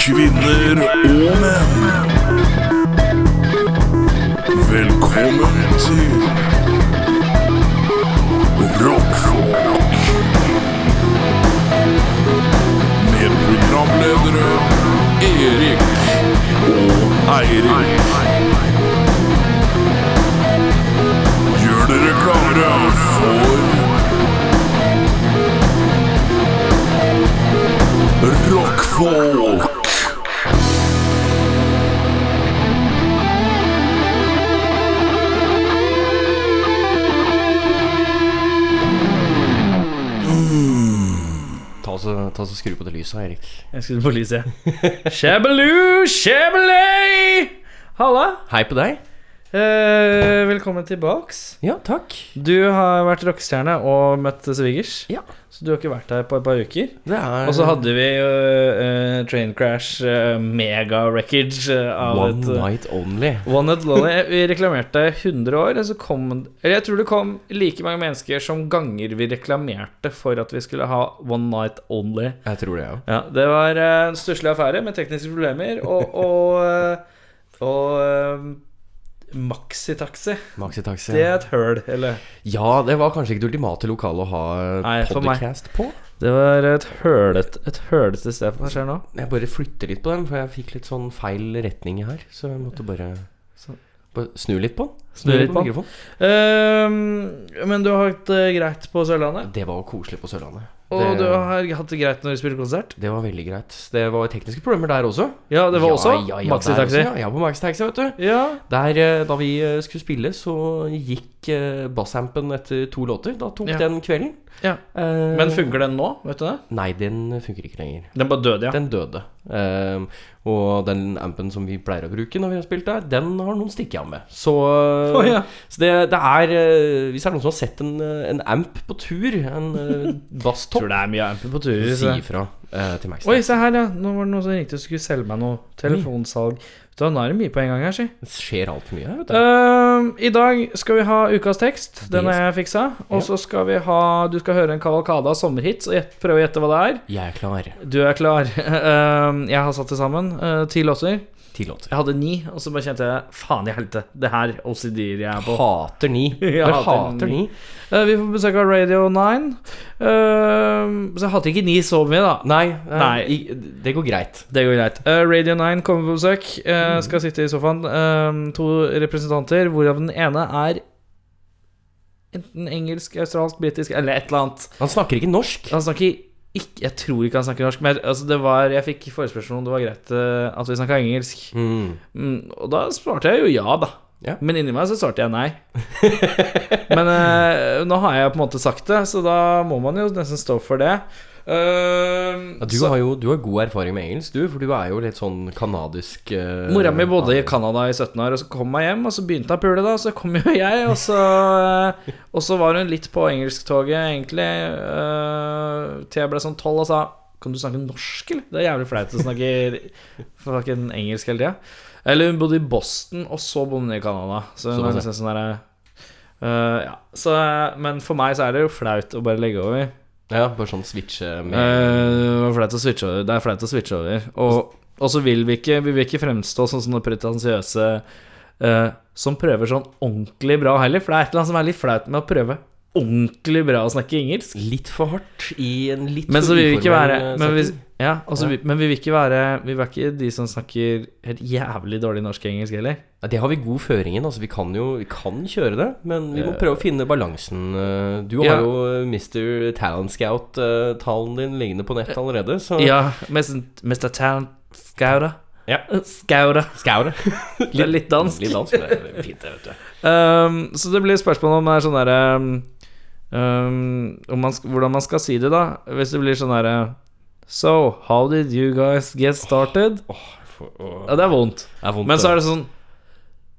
kvinner og menn. Velkommen til Rockfolk. Med programledere Erik og Eirik. Gjør dere klare for Rockfolk. Ta og så- ta og så skru på det lyset, Erik. Jeg skulle på lyset. Shabaloo, shabalay! Halla! Hei på deg. Eh, velkommen tilbaks. Ja, takk. Du har vært rockestjerne og møtt svigers. Ja. Så du har ikke vært her på et par uker. Det er Og så hadde vi eh, eh, Train Crash, eh, mega wreckage eh, av One et eh, Night Only. One Night Lonely. Vi reklamerte 100 år, og så kom Eller jeg tror det kom like mange mennesker som ganger vi reklamerte for at vi skulle ha One Night Only. Jeg tror det, ja. Ja, det var eh, en stusslig affære med tekniske problemer og, og, eh, og eh, maxitaxi. Maxitaxi. Det er et høl, eller? Ja, det var kanskje ikke det ultimate lokalet å ha Nei, for meg. podcast på. Det var et hølet, et hølete sted for hva skjer nå. Jeg bare flytter litt på den, for jeg fikk litt sånn feil retning her. Så jeg måtte bare, Så- bare snu litt på den. Snu litt på den. mikrofonen. Ehm, men du har hatt det greit på Sørlandet. Det var koselig på Sørlandet. Og det, du har hatt det greit når du spiller konsert. det var veldig greit. Det var tekniske problemer der også. Ja, det var også ja, ja, maxitaxi. der også, Ja, ja, på Maxitaxi, vet du. Ja. Der, eh, da vi eh, skulle spille, så gikk eh, bassampen etter to låter. Da tok Ja. den kvelden. Ja. Eh, Men funker den nå? Vet du det? Nei, den funker ikke lenger. Den bare døde, ja. Den døde. Eh, og den ampen som vi pleier å bruke når vi har spilt der, den har noen stikket av med. Så, eh, Å, ja. så det, det er eh, Hvis det er noen som har sett en, eh, en amp på tur, en eh, Tror basstopp, det er mye amper på turer. si så- ifra eh, til Max. Oi, se her, ja. Nå var det noen som ringte og skulle selge meg noe. Telefonsalg. Vet du hva, Nå er det mye på en gang her, si. Det skjer altfor mye her, vet du. Ehm, I dag skal vi ha ukas tekst. Den Det har jeg fiksa. Og så skal vi ha Du skal høre en kavalkade av sommerhits og gjette- prøve å gjette hva det er. Jeg er klar. Du er klar. Ehm, jeg har satt til sammen eh, ti låser. Ti låter. Jeg hadde ni, og så bare kjente jeg Faen i helvete, det her OCD-er jeg er på. Hater ni. Jeg Jeg hater hater ni. ni. Eh, vi får besøk av Radio 9. Ehm, så jeg hater ikke ni så mye, da. Nei, eh, Nei. i- det går greit. Det går greit. Eh, Radio 9 kommer på besøk. Mm. eh, skal sitte i sofaen. Ehm, to representanter, hvorav den ene er enten engelsk, australsk, britisk eller et eller annet. Han snakker ikke norsk. Han snakker ikke Jeg tror ikke han snakker norsk, men jeg- altså, det var, jeg fikk forespørsel om det var greit eh, at vi snakka engelsk. Mm. Mm, og da svarte jeg jo ja, da. Ja. Men inni meg så svarte jeg nei. men eh, nå har jeg på en måte sagt det, så da må man jo nesten stå for det. Ehm, Ja, du så- har jo du har god erfaring med engelsk, du, for du er jo litt sånn kanadisk eh, Mora mi bodde ja. i Canada i 17 år, og så kom hun hjem, og så begynte hun å pule, da, og så kom jo jeg, og så, eh, og så var hun litt på engelsktoget, egentlig, øh, til jeg ble sånn 12 og sa Kan du snakke norsk, eller? Det er jævlig flaut å snakke fucking engelsk hele tida. Eller hun bodde i Boston, og så bodde hun i Canada, så hun Såpass, ja. er liksom sånn derre øh, ja. så, Men for meg så er det jo flaut å bare legge over. Ja, bare sånn switche med Eh, det var flaut å switche over. Det er flaut å switche over. Og, og så vil vi ikke, vi vil ikke fremstå som sånne pretensiøse eh, som prøver sånn ordentlig bra heller, for det er et eller annet som er litt flaut med å prøve ordentlig bra å snakke engelsk. Litt for hardt i en litt Men for så vil vi ikke uformell, være eh, men vi, setting. ja, altså, Ja. vi, men vi vil ikke være Vi vil ikke de som snakker helt jævlig dårlig norsk og engelsk heller. Ja, Det har vi god føring i. Altså, vi kan jo vi kan kjøre det, men vi må prøve å finne balansen. eh, Du Eh. Ja. har jo eh, Mr. Talent Scout-talen din liggende på nett allerede, så Ja, mest- Mr. Talent Skauda. Ja. Skauda. Scout. Det er litt dansk. Litt dansk, men det er fint, det, vet du. Ehm, så det blir spørsmål om det er sånn derre ehm, om man sk- Hvordan man skal si det, da. Hvis det blir sånn derre So, how did you guys get started? Ja, det er vondt. Det er vondt. Men så er det sånn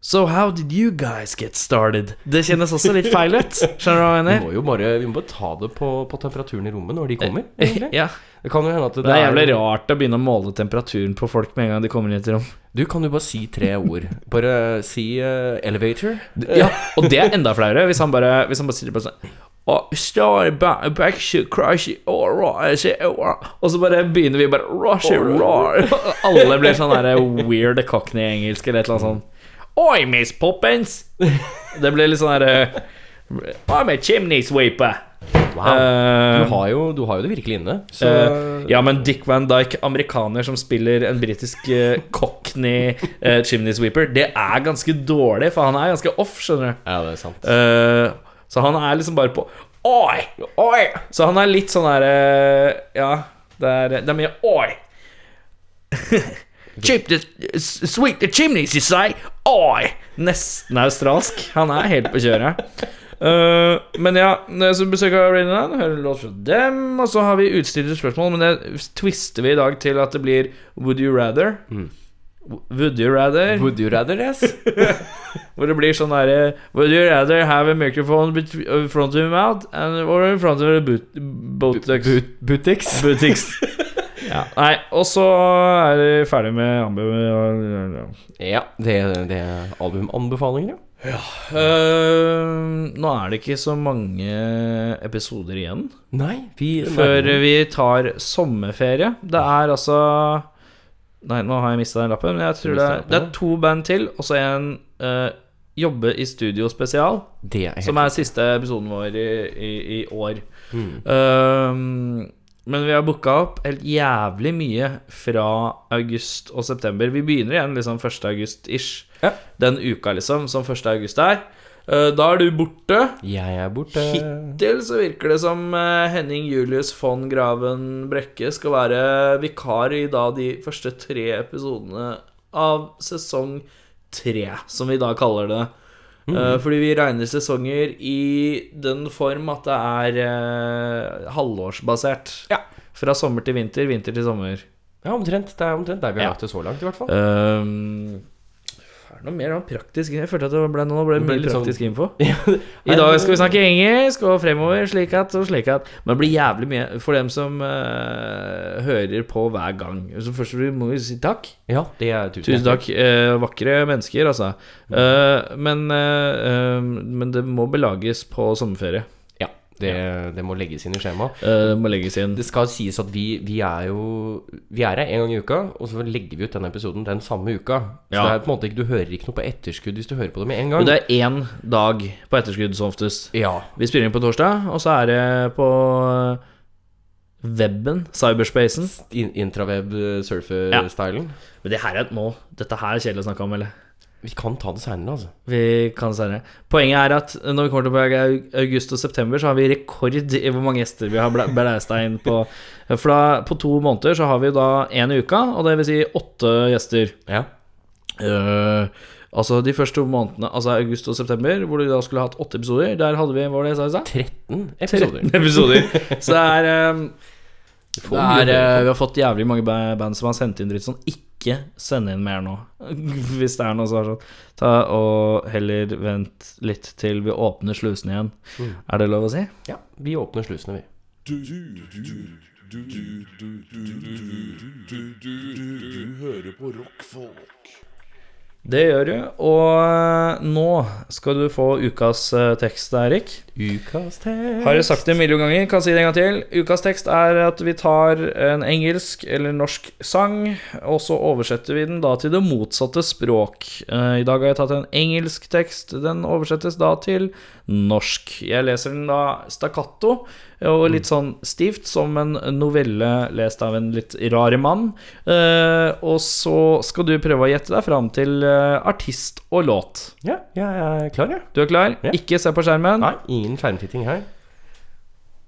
So, how did you guys get started? Det kjennes også litt feil ut. Skjønner du hva jeg Vi mener? må jo bare, vi må bare ta det på, på temperaturen i rommet når de kommer. egentlig. Eh, Ja, Det kan jo hende at det, det er jævlig rart å begynne å måle temperaturen på folk med en gang de kommer inn i et rom. Du kan jo bare si tre ord. Bare si eh, elevator. Eh, Ja, Og det er enda flauere hvis han bare, hvis han bare sier det bare sånn Og story about backshot crashy Og så bare begynner vi bare rushy, roar. Alle blir sånn der weird cockney-engelsk eller et eller annet sånn Oi, Miss Poppins! Det blir litt sånn der I'm a chimney sweeper. Du Eh, har jo, du har jo det virkelig inne. Så eh, ja, men Dick Van Dyke, amerikaner som spiller en britisk eh, cockney eh, chimney sweeper, det er ganske dårlig, for han er ganske off, skjønner du. Ja, det er sant. Eh, så han er liksom bare på Oi! Oi! Så han er litt sånn der eh, Ja, det er, det er mye oi. Chip the s- sweep the chimneys, you say? Oi! Nesten australsk. Han er helt på kjøret. Eh, men ja, når jeg så besøker jeg Radioland, hører låt fra dem, og så har vi utstyrte spørsmål, men det twister vi i dag til at det blir Would you rather? Would you rather? Would you rather, yes? Hvor det blir sånn derre Would you rather have a microphone bet- uh, in front of your mouth and, or in front of your boot, botox? Butix. Botics. ja. Nei, og så er vi ferdig med anbe... Ja, det, det er albumanbefalinger, ja. Øh, nå er det ikke så mange episoder igjen Nei, vi før vi tar sommerferie. Det er altså Nei, nå har jeg mista den lappen. Men jeg tror det er, mistet det lappen, er to band til, og så en øh, jobbe i studio spesial. Det er helt Som er siste episoden vår i, i, i år. Mm. Um, men vi har booka opp helt jævlig mye fra august og september. Vi begynner igjen liksom 1. august-ish. Ja. Den uka liksom som 1. august er. Uh, da er du borte. Jeg er borte. Hittil så virker det som eh, Henning Julius von Graven Brekke skal være vikar i da de første tre episodene av sesong tre, som vi da kaller det. Eh, Fordi vi regner sesonger i den form at det er eh, halvårsbasert. Ja. Fra sommer til vinter, vinter til sommer. Ja, omtrent. Det er omtrent der vi har Ja. lagt det så langt, i hvert fall. Um, er det noe mer sånn praktisk Jeg følte at det ble, nå ble det Det ble mye litt sånn- praktisk info. I I dag skal vi snakke engelsk og fremover slik at og slik at. Men det blir jævlig mye for dem som eh, hører på hver gang. Så først vil vi- må vi si takk. Ja, det er tusen, Tusen takk. eh, vakre mennesker, altså. Eh, men, eh, eh, men det må belages på sommerferie. Ja, det, det må legges inn i skjemaet. Eh, det må legges inn. Det skal sies at vi, vi er jo Vi er her en gang i uka, og så legger vi ut den episoden den samme uka. Så Ja. det er på en måte ikke, du hører ikke noe på etterskudd hvis du hører på det med en gang. Og det er én dag på etterskudd som oftest. Ja. Vi spiller inn på torsdag, og så er det på eh, webben, cyberspacen. In intraweb eh, surfer-stylen. Men det her er nå Dette her er kjedelig å snakke om, eller? Vi kan ta det seinere, altså. Vi kan senere. Poenget er at når vi kommer tilbake i august og september, så har vi rekord i hvor mange gjester vi har blæ- blæsta inn på. For da, på to måneder så har vi da én i uka, og det vil si åtte gjester. Ja. Eh, altså de første to månedene, altså august og september, hvor du da skulle hatt åtte episoder, der hadde vi hva var det jeg sa, jeg sa? 13 Mm, episoder. episoder. Så det er, eh, Du får det mye å er eh, høre på. Vi har fått jævlig mange ba- band som har sendt inn dritt sånn. Ikke send inn mer nå. Hvis det er noe som er sånn. Ta og heller vent litt til vi åpner slusene igjen. Er det lov å si? Ja, vi åpner slusene, vi. Du, du, du, du, du, du, du, du, du, du, du hører på rockfolk. Det gjør du. Og eh, nå skal du få ukas eh, tekst, Erik. Ukas Har jeg sagt det en million ganger, kan si det en gang til. Ukas tekst er at vi tar en engelsk eller norsk sang, og så oversetter vi den da til det motsatte språk. Eh, I dag har jeg tatt en engelsk tekst, den oversettes da til norsk. Jeg leser den da stakkato, og Mm. litt sånn stivt, som en novelle lest av en litt rar mann. Eh, Og så skal du prøve å gjette deg fram til eh, artist og låt. Ja, jeg er klar, jeg. Du er klar? Ja. Ikke se på skjermen. Nei, ingen skjermtitting her.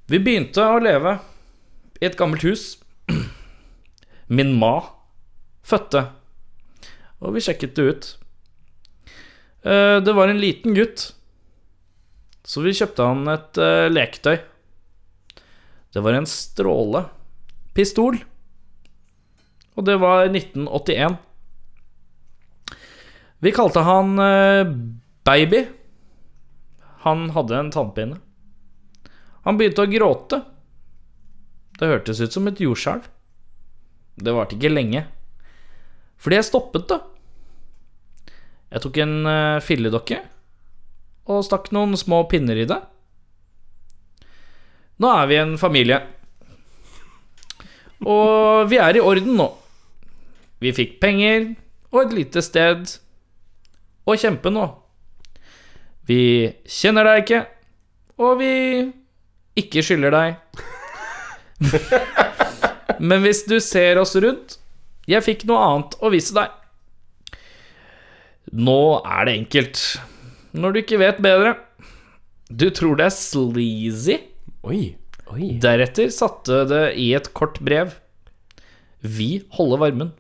Vi begynte å leve i et gammelt hus. Min ma fødte, og vi sjekket det ut. Eh, Det var en liten gutt, så vi kjøpte han et eh, leketøy. Det var en stråle pistol, og det var 1981. Vi kalte han eh, Baby. Han hadde en tannpine. Han begynte å gråte. Det hørtes ut som et jordskjelv. Det varte ikke lenge, fordi jeg stoppet det. Jeg tok en eh, filledokke og stakk noen små pinner i det. Nå er vi en familie. Og vi er i orden nå. Vi fikk penger og et lite sted å kjempe nå. Vi kjenner deg ikke, og vi ikke skylder deg. Men hvis du ser oss rundt Jeg fikk noe annet å vise deg. Nå er det enkelt. Når du ikke vet bedre. Du tror det er sleazy? Oi. Oi. Deretter satte det i et kort brev. Vi holder varmen.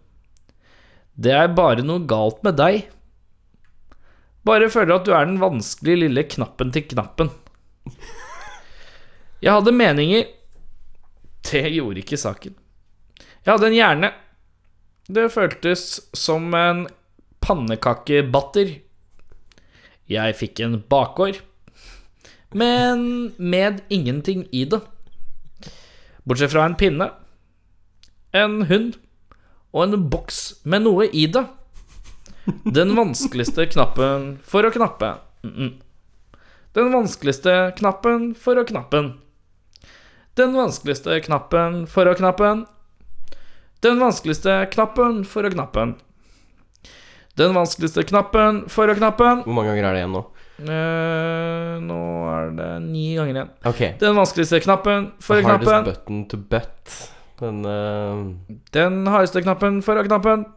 Det er bare noe galt med deg. Bare føler at du er den vanskelige lille knappen til knappen. Jeg hadde meninger. Det gjorde ikke saken. Jeg hadde en hjerne. Det føltes som en pannekakebatter. Jeg fikk en bakgård men med ingenting i det. Bortsett fra en pinne, en hund og en boks med noe i det. Den vanskeligste knappen for å knappe. Mm-mm. Den vanskeligste knappen for å knappen. Den vanskeligste knappen for å knappen. Den vanskeligste knappen for å knappen. Den vanskeligste knappen for å knappen. Hvor mange ganger er det igjen nå? Eh, nå er det ni ganger igjen. Ok. Den vanskeligste knappen for Hardest knappen. button to butt. Den eh, Den hardeste knappen for knappen.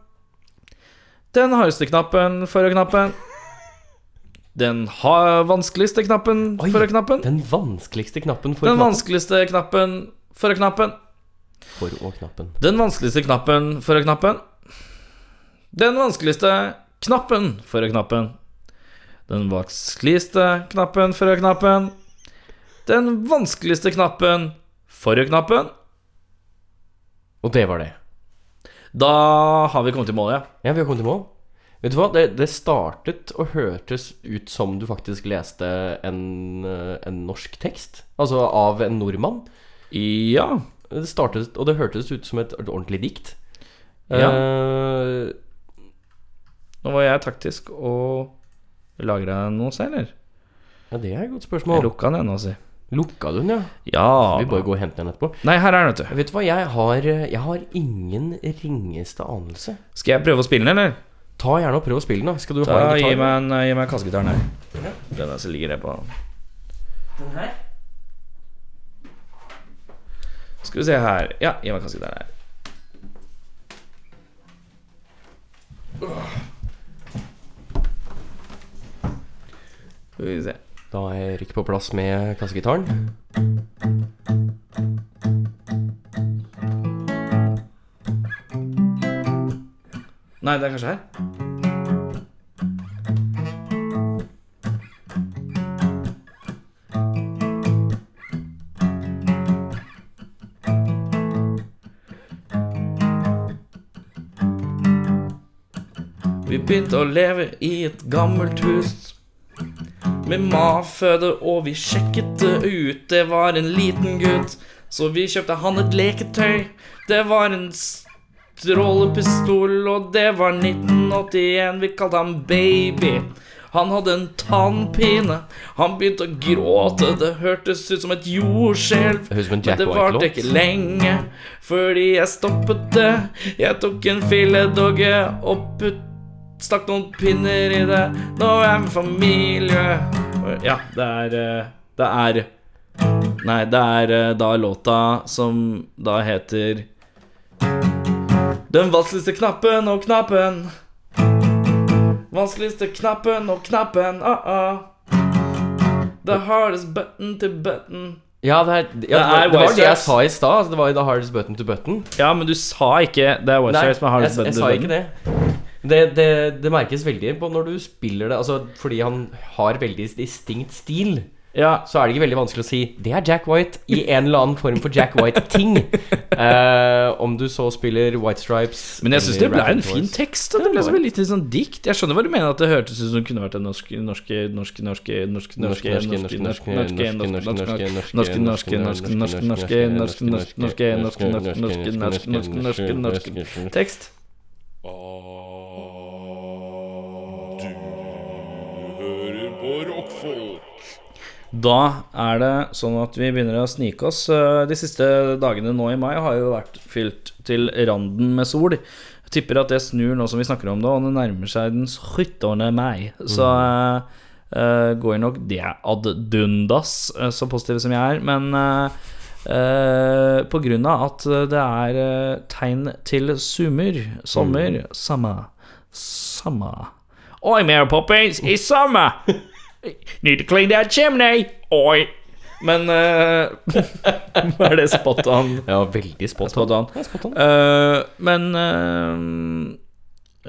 Den hardeste knappen for knappen. Den ha vanskeligste knappen Oi, for knappen. Den vanskeligste knappen for, Den knappen, vanskeligste knappen for knappen. for å knappen. Den vanskeligste knappen for knappen. Den vanskeligste knappen for knappen. Den vanskeligste knappen for knappen. Den vanskeligste knappen for knappen. Og det var det. Da har vi kommet i mål, ja. Ja, vi har kommet i mål. Vet du hva, det, det startet og hørtes ut som du faktisk leste en, eh, en norsk tekst. Altså av en nordmann. Ja. Det startet, og det hørtes ut som et ordentlig dikt. Ja. Eh, Nå var jeg taktisk og lagra den nå, selv, eller? ja, det er et godt Jeg spørsmål. lukka den ennå, si. Lukka du den, ja? Ja. Vi bare går og henter den etterpå. Nei, her er den, vet du. Vet du hva, jeg har, jeg har ingen ringeste anelse. Skal jeg prøve å spille den, eller? Ta gjerne og prøv å spille den, da. Skal du Da, ha en gi, gitar? meg en, eh, gi meg kassegitaren her. Den der som ligger der på Den her? Skal vi se her. Ja, gi meg kassegitaren her. Skal vi se. Da er Erik på plass med kassegitaren. Nei, det er kanskje her. Vi begynte å leve i et gammelt hus med maføde, og vi sjekket det ut. Det var en liten gutt, så vi kjøpte han et leketøy. Det var en strålepistol, og det var 1981. Vi kalte han Baby. Han hadde en tannpine. Han begynte å gråte. Det hørtes ut som et jordskjelv. Det høres ut som en Men Jack det varte White-låt. ikke lenge fordi jeg stoppet det. Jeg tok en filedogge og putt, stakk noen pinner i det. Nå er jeg med familie. Ja, det er eh, Det er Nei, det er eh, da låta som da heter Den vanskeligste knappen og knappen. Vanskeligste knappen og knappen, ah-ah. The hardest button to button. Ja, det, er, ja, det, er var, det var Wise det jeg Guys. sa i stad. altså, Det var jo the hardest button to button. Ja, men du sa ikke Det er Wildshire som er hardest jeg, jeg sa ikke det. Det, det. det merkes veldig på når du spiller det. Altså, fordi han har veldig distinkt stil, Ja, så er det ikke veldig vanskelig å si 'det er Jack White' i en eller annen form for Jack White-ting. Eh, om du så spiller White Stripes men jeg syns det eller ble Rabbit en fin Horse. tekst. Og det ble så veldig litt sånn dikt. Jeg skjønner hva du mener, at det hørtes ut som det kunne vært en norsk norske, norske, norske, norske, norske, norske, norske, norske, norske, norske, norske, norske, norske, norske, norske, norske, norske, norske, norske, norske, norske, norske, norske, norske, norske tekst. Ah, Du hører på rockfolk. Da er det sånn at vi begynner å snike oss. Eh, De siste dagene nå i mai har jo vært fylt til randen med sol. Jeg tipper at det snur nå som vi snakker om det, og det nærmer seg den 17. mai. Så eh, eh, går nok det ad dundas, eh, så positiv som jeg er. Men eh, eh, på grunn av at det er eh, tegn til summer, sommer, samme, samme Oi, Mary Poppins, i sommer! Need to clean that chimney! Oi! Men eh, Hva er det spot on? Ja, veldig spot on. Spot on. Eh, men eh,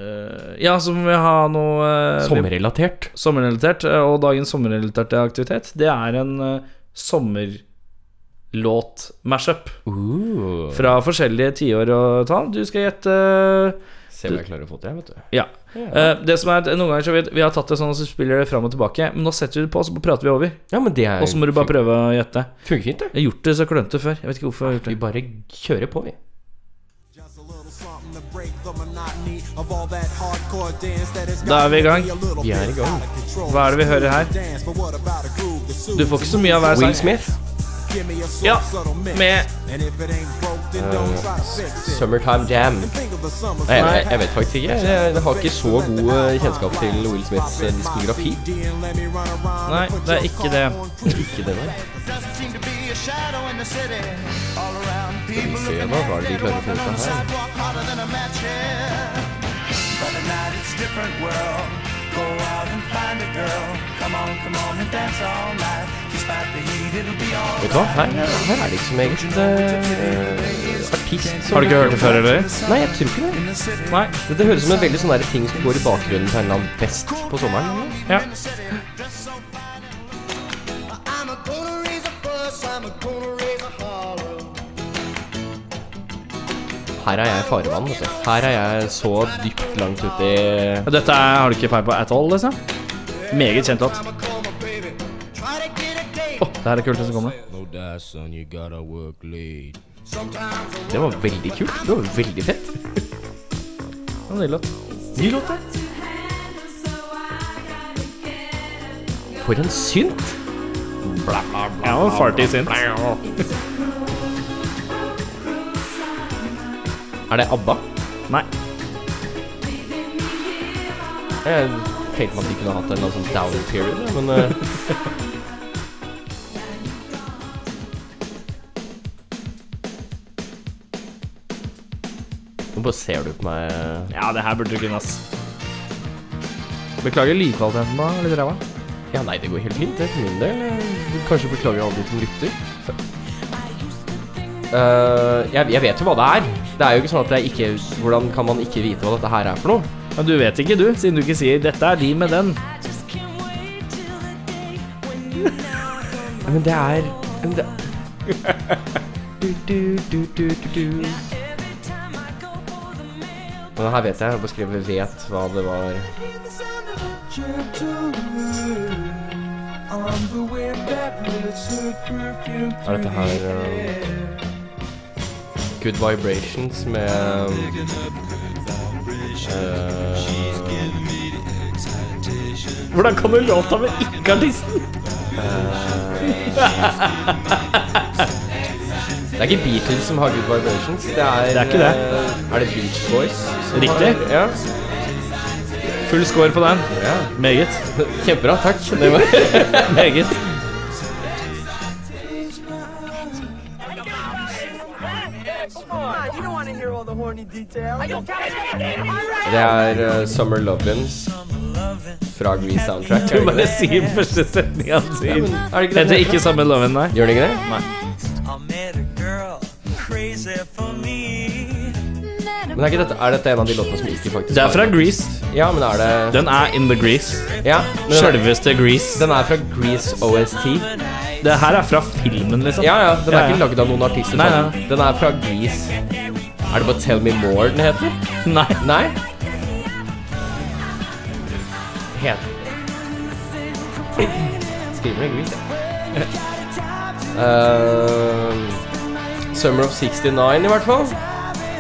eh, Ja, så må vi ha noe eh, Sommerrelatert. sommerrelatert. eh, Og dagens sommerrelaterte aktivitet, det er en eh, sommerlåt-mashup. Uh, Fra forskjellige tiår og tall. Du skal gjette eh, se hva jeg klarer å få til, jeg, vet du. Ja. Eh, det som er at Noen ganger så vet, Vi har tatt det sånn, og så spiller det fram og tilbake. Men nå setter vi det på, og så prater vi over. Ja, men det er Og så må du bare prøve å gjette. Funker fint, det. Jeg har gjort det så klønete før. Jeg vet ikke hvorfor jeg har gjort Vi det. bare kjører på, vi. Just a little something to break the monotony of all that hardcore dance that has Da er vi i gang. Vi er i gang. Hva er det vi hører her? Du får ikke så mye av hver Will sang. Smith, Ja, med Summertime Jam. Nei, Jeg, jeg, jeg vet faktisk ikke. Jeg, jeg har ikke så god eh, kjennskap til Will Smiths eh, diskografi. Nei, det er ikke det. Ikke det der. Doesn't seem to be a shadow in the city. All around people Se, looking hva var det de klarte å finne ut walking on the av her? sidewalk harder than a match here. But tonight it's a different world. Go out and find a girl. Come on, come on and dance all night. Despite the heat, it'll be all Vet du hva, her, her er det ikke som eget eh, artist. som- Har du ikke hørt det før, eller? Nei, jeg tror ikke det. in the city. Nei. Dette høres ut som en veldig sånn der ting som går i bakgrunnen på en eller annen fest på sommeren. Ja. In the city, dressed so fine and low. I'm a gonna raise a fuss, I'm a gonna raise a holler. Her er jeg i farevann, vet du. Her er jeg så dypt langt uti Ja, Dette er, har du ikke peil på at all, liksom? Meget kjent låt. I'm a call my baby. Try to get a date. Å, det her er kult, det som kommer. nå. No die, son, you gotta work late. Sometimes a Det var veldig kult. Det var veldig fett. Det var en Nydelig låt. Ny låt, da. For en synt! Ja, det var farty sin. Er det ABBA? Nei. Jeg tenkte man at de kunne hatt en eller annen sånn down period, ja, men eh, Nå bare ser du på meg eh. Ja, det her burde du kunne, ass. Beklager lydkvaliteten på litt ræva. Ja, nei, det går helt fint, det, for min del. Jeg- Kanskje beklager alle de som lytter. Eh, jeg, jeg vet jo hva det er. Det er jo ikke sånn at jeg ikke Hvordan kan man ikke vite hva dette her er for noe? Men du vet ikke, du, siden du ikke sier 'dette er de med den'. Men det er men det, du, du, du, du, du, du. Men her vet jeg. Jeg bare skrev 'vet' hva det var. Er dette her eh, Good Vibrations med eh, Hvordan kan du låta med ikke-artisten? Det er ikke Beatles som har Good Vibrations. Det er, Det er ikke det. eh, Er det Beach Boys? som Riktig. har- Ja. Full score på den. ja. Meget. Kjempebra. Takk. Det var Meget. You don't want to hear all the horny details. Det er eh, Summer Lovin' fra Green Soundtrack. Du bare sier første setninga si. Er det ikke Heter det? ikke samme loven, nei. Gjør det ikke I det? met a girl crazy for me. Men er, ikke dette, er dette en av de låtene som ikke faktisk Det er fra var- Grease. Ja, men er det Den er in the grease. Ja. men den er- Sjølveste Grease. Den er fra Grease OST. Det her er fra filmen, liksom. Ja, ja. Den er Ja, ja. ikke laget av noen artister. Nei, sånn. nei. Den er fra Grease. Er det bare Tell Me More den heter? Nei. Nei? Het Skriver det Grease, ja. Eh, Summer of 69 i hvert fall.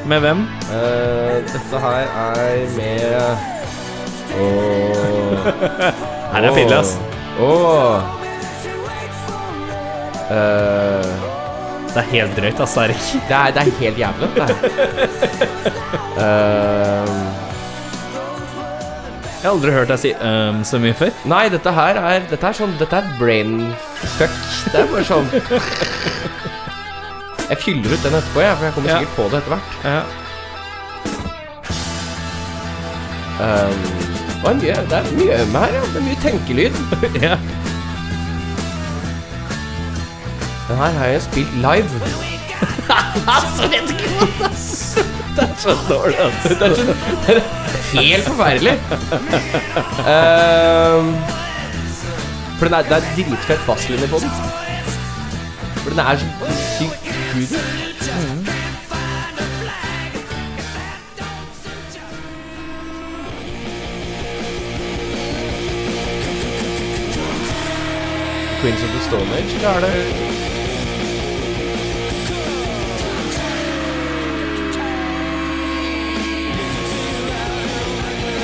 Med hvem? Eh, dette her er med Åh Her er fiddelig, ass. Åh Eh, Det er helt drøyt, ass, Erik. Det er, det er helt jævlig, det her. Ehm, Jeg har aldri hørt deg si øhm så mye før. nei, dette her er Dette er sånn Dette er brain fuck. Det er bare sånn Jeg fyller ut den etterpå, jeg, for jeg kommer Ja. sikkert på det etter hvert. Ja. Ehm, det, er mye, det er mye ømme her, ja. Det er mye tenkelyd. ja. Den her har jeg spilt live. Så dårlig, ass. Det er så, det er helt forferdelig. Ehm, for den er, det er dritfett basslinje på den. For den er så sykt good. Queens of the Stone Age, eller er det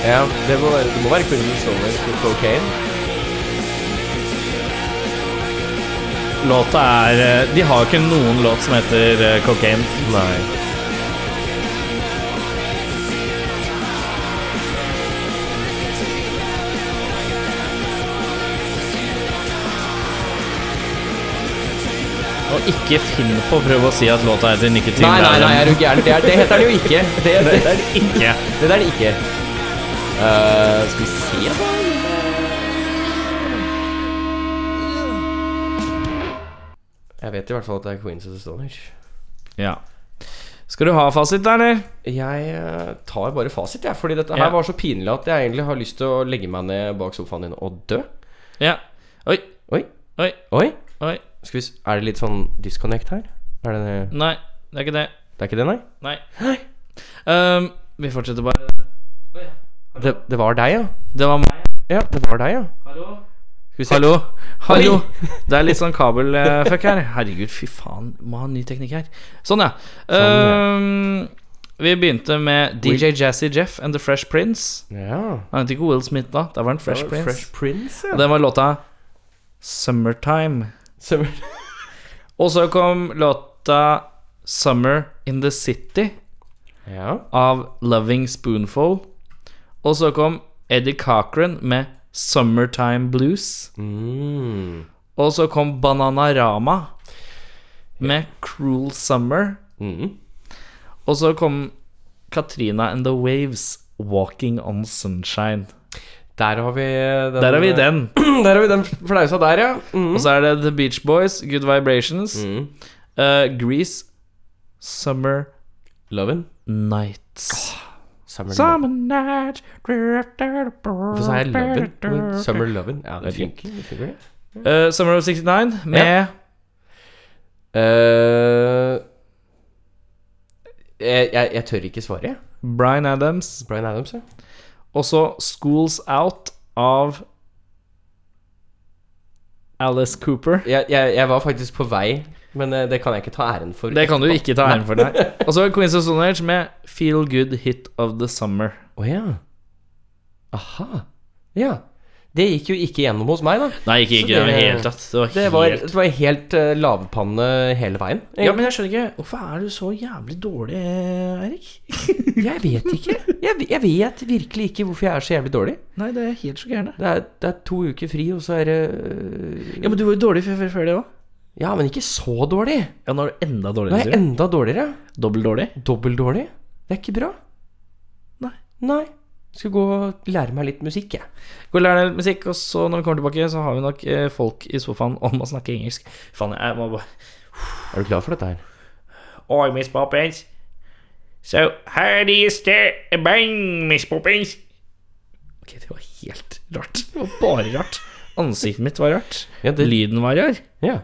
Ja, det må være, det må være Queens of the Stone Age med Cocaine. Låta er eh, De har jo ikke noen låt som heter eh, Cocaine. Nei. Og ikke finn på å prøve å si at låta heter Nikotin. Nei, nei, nei, er du gæren? Det, er- det heter den jo ikke. Det, det, Det er det ikke. Det der er det ikke. Eh, skal vi se, da? Jeg vet i hvert fall at det er Queens of the Stone Age. Ja. Skal du ha fasit, da, eller? Jeg eh, tar bare fasit, jeg. Fordi dette Ja. her var så pinlig at jeg egentlig har lyst til å legge meg ned bak sofaen din og dø. Ja. Oi, Oi. oi, Oi. oi. Skal vi s er det litt sånn disconnect her? Er det det? Nei, det er ikke det. Det er ikke det, nei? Nei. Øhm, vi fortsetter bare. Det, det var deg, ja? Det var meg. Ja, det var deg, ja. Hallo? Skal vi se. Hallo? Hallo? Oi. Det er litt sånn kabelfuck her. Herregud, fy faen. Må ha ny teknikk her. Sånn, ja. Øhm, vi begynte med DJ Jazzy Jeff and The Fresh Prince. Ja. Han het ikke Will Smith da. Da var han Fresh Det var Prince. Fresh Prince, Og ja. den var låta Summertime. Summer. Og så kom låta Summer in the City Ja. av Loving Spoonful. Og så kom Eddie Cochran med Summertime Blues. Mm. Og så kom Bananarama med Cruel Summer. Mm. Og så kom Katrina and the Waves, Walking on Sunshine. Der har vi den Der har vi den. Der har vi den flausa der, ja. Mm. Og så er det The Beach Boys, Good Vibrations. Mm. eh, Grease, Summer Lovin. Nights. Summer Lovin. Summer night Hvorfor Hvorfor sa jeg Lovin? Men Summer Lovin. Ja, det funker. Det funker det. Eh, Summer of 69 med Eh, jeg, jeg, jeg tør ikke svare, jeg. Bryan Adams. Bryan Adams, ja. Og så Schools Out av Alice Cooper. Jeg, jeg, jeg var faktisk på vei, men eh, det kan jeg ikke ta æren for. Det kan du ikke ta æren for, nei. Og så Queens of Stone Age med Feel Good Hit of the Summer. Å ja. Aha. Ja. Det gikk jo ikke gjennom hos meg, da. Nei, ikke, ikke i det hele tatt. Det var, det var helt eh, lavpanne hele veien. Ja, men jeg skjønner ikke Hvorfor er du så jævlig dårlig, Eirik? Jeg vet ikke. Jeg, jeg vet virkelig ikke hvorfor jeg er så jævlig dårlig. Nei, det er helt sjokkerende. Det er, det er to uker fri, og så er det øh, Ja, men du var jo dårlig før, før, før det òg. Ja, men ikke så dårlig. Ja, nå er du enda Nå dårligere. er jeg enda dårligere. Dobbelt dårlig? Dobbelt dårlig. Det er ikke bra. Nei. Nei. Skal gå og lære meg litt musikk, jeg. Gå og lær deg litt musikk, og så når vi kommer tilbake, så har vi nok eh, folk i sofaen om å snakke engelsk. Faen, jeg må bare Er du klar for dette her? Oi, Miss Poppins. So, how do you start a bang, Miss Poppins? Ok, det var helt rart. Det var bare rart. Ansiktet mitt var rart. Ja, det- Lyden var rar. Ja.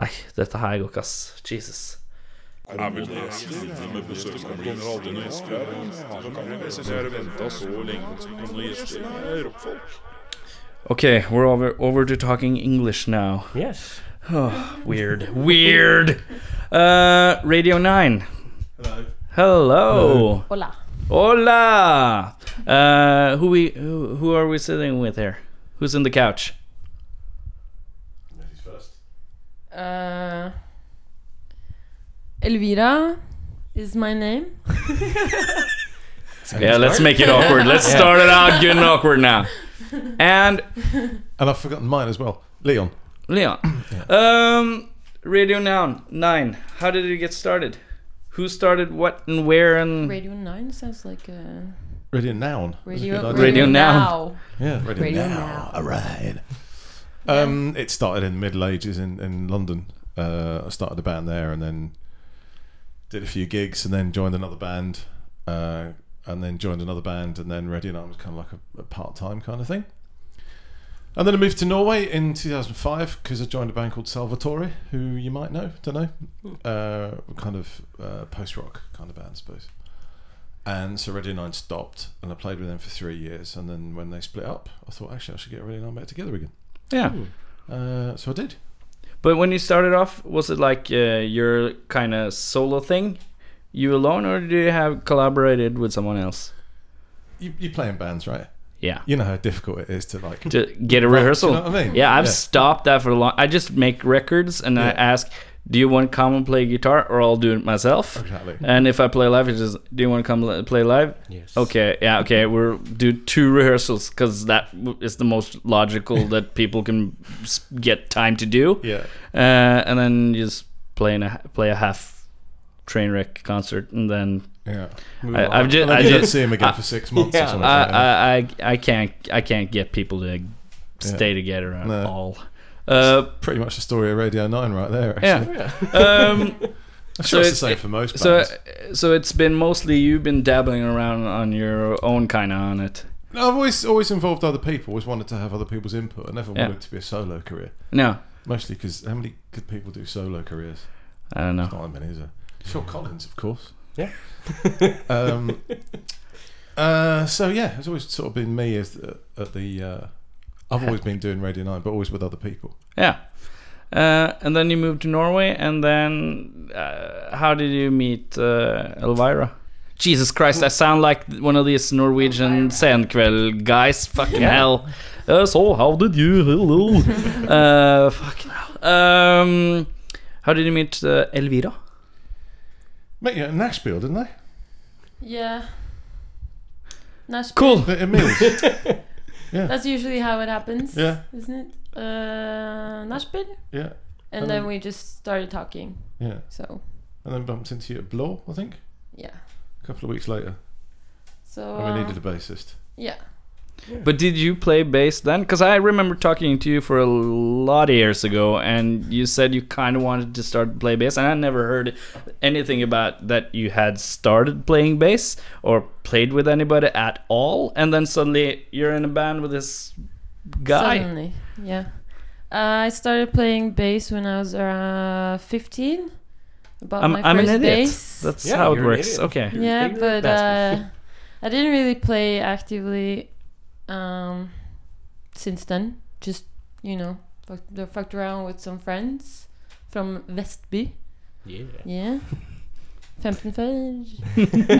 Nei, dette her går ikke, ass. Jesus. Ok, we're over, over to talking English now. Yes. Weird. Weird. Uh, Radio 9. Hello. Hello. Hola. Hola. Uh, who we who, who are we sitting with here? Who's in the couch? eh, Elvira is my name. Yeah, let's make it awkward. Let's start it out good and awkward now. And And I've forgotten mine as well. Leon. Leon. Um, Radio Noun 9. How did it get started? Who started what and where and Radio 9 sounds like a Radio Noun. That's a radio, good idea. Radio Noun. Yeah, Radio, Radio Now. Now. All right. Um, it started in the Middle Ages in, in London. Uh, I started a band there and then did a few gigs and then joined another band uh, and then joined another band and then Radio Now was kind of like a, a part time kind of thing. And then I moved to Norway in 2005 because I joined a band called Salvatore, who you might know, don't know. Uh, kind of uh, post rock kind of band, I suppose. And so Radio 9 stopped, and I played with them for three years. And then when they split up, I thought, actually, I should get Radio 9 back together again. yeah. Hmm. Uh, so I did. But when you started off, was it like uh, your kind of solo thing, you alone, or do you have collaborated with someone else? You, you play in bands, right? Yeah, You know how difficult it is to, like, do to get a rehersal. you know what I mean? Yeah, I've Yeah. stopped that for a long. I just make records and I ask, "Do you want to come and play guitar, or I'll do it myself?" Exactly. And if I play live, it's just, "Do you want to come li- play live?" Yes. Okay, yeah, okay. We'll do two rehearsals because that w- is the most logical that people can s- get time to do. Yeah. uh, and then you just play in a ha- play a half train wreck concert, and then yeah. I, I've just And I I didn't just uh, see him again for six months or something. I, like that. I, I I can't I can't get people to stay together at No. all. Uh, Pretty much the story of Radio 9 right there. Actually. yeah. um, I'm So sure it's it- the same for most so uh, bands. so it's been mostly you've been dabbling around on your own kind of on it. No, I've always always involved other people. Always wanted to have other people's input. I never Yeah. wanted it to be a solo career. No, Mostly because how many good people do solo careers? I don't know. Not that many, is there? Phil Collins, of course. Yeah. um, uh, so yeah, it's always sort of been me as the, at the. Uh, I've always been doing Radio Nine, but always with other people. Yeah. Uh, and then you moved to Norway, and then uh, how did you meet uh, Elvira? Jesus Christ, I sound like one of these Norwegian Senkveld guys. Fucking hell. Uh, so, how did you? Hello. uh, fucking hell. Um, how did you meet uh, Elvira? Met you at Nashville, didn't they? Yeah. That's Cool. At Emil's. That's usually how it happens, yeah, isn't it? Uh, Nashville, yeah, and Um, then we just started talking. yeah. So And then bumped into you at Bloor, I think, yeah. a couple of weeks later. So And Oh, we uh, needed a bassist. yeah, But did you play bass then? Because I remember talking to you for a lot of years ago, and you said you kind of wanted to start to play bass, and I never heard anything about that you had started playing bass or played with anybody at all, and then suddenly you're in a band with this guy. suddenly, yeah. Uh, I started playing bass when I was uh, 15. About I'm, my I'm an first idiot. bass. That's Yeah, how it you're an works. idiot. Okay. You're an yeah, ignorant but uh, bastard. I didn't really play actively um, since then. Just you know, fucked, fucked around with some friends from Vestby. Yeah. Yeah. 15 uh,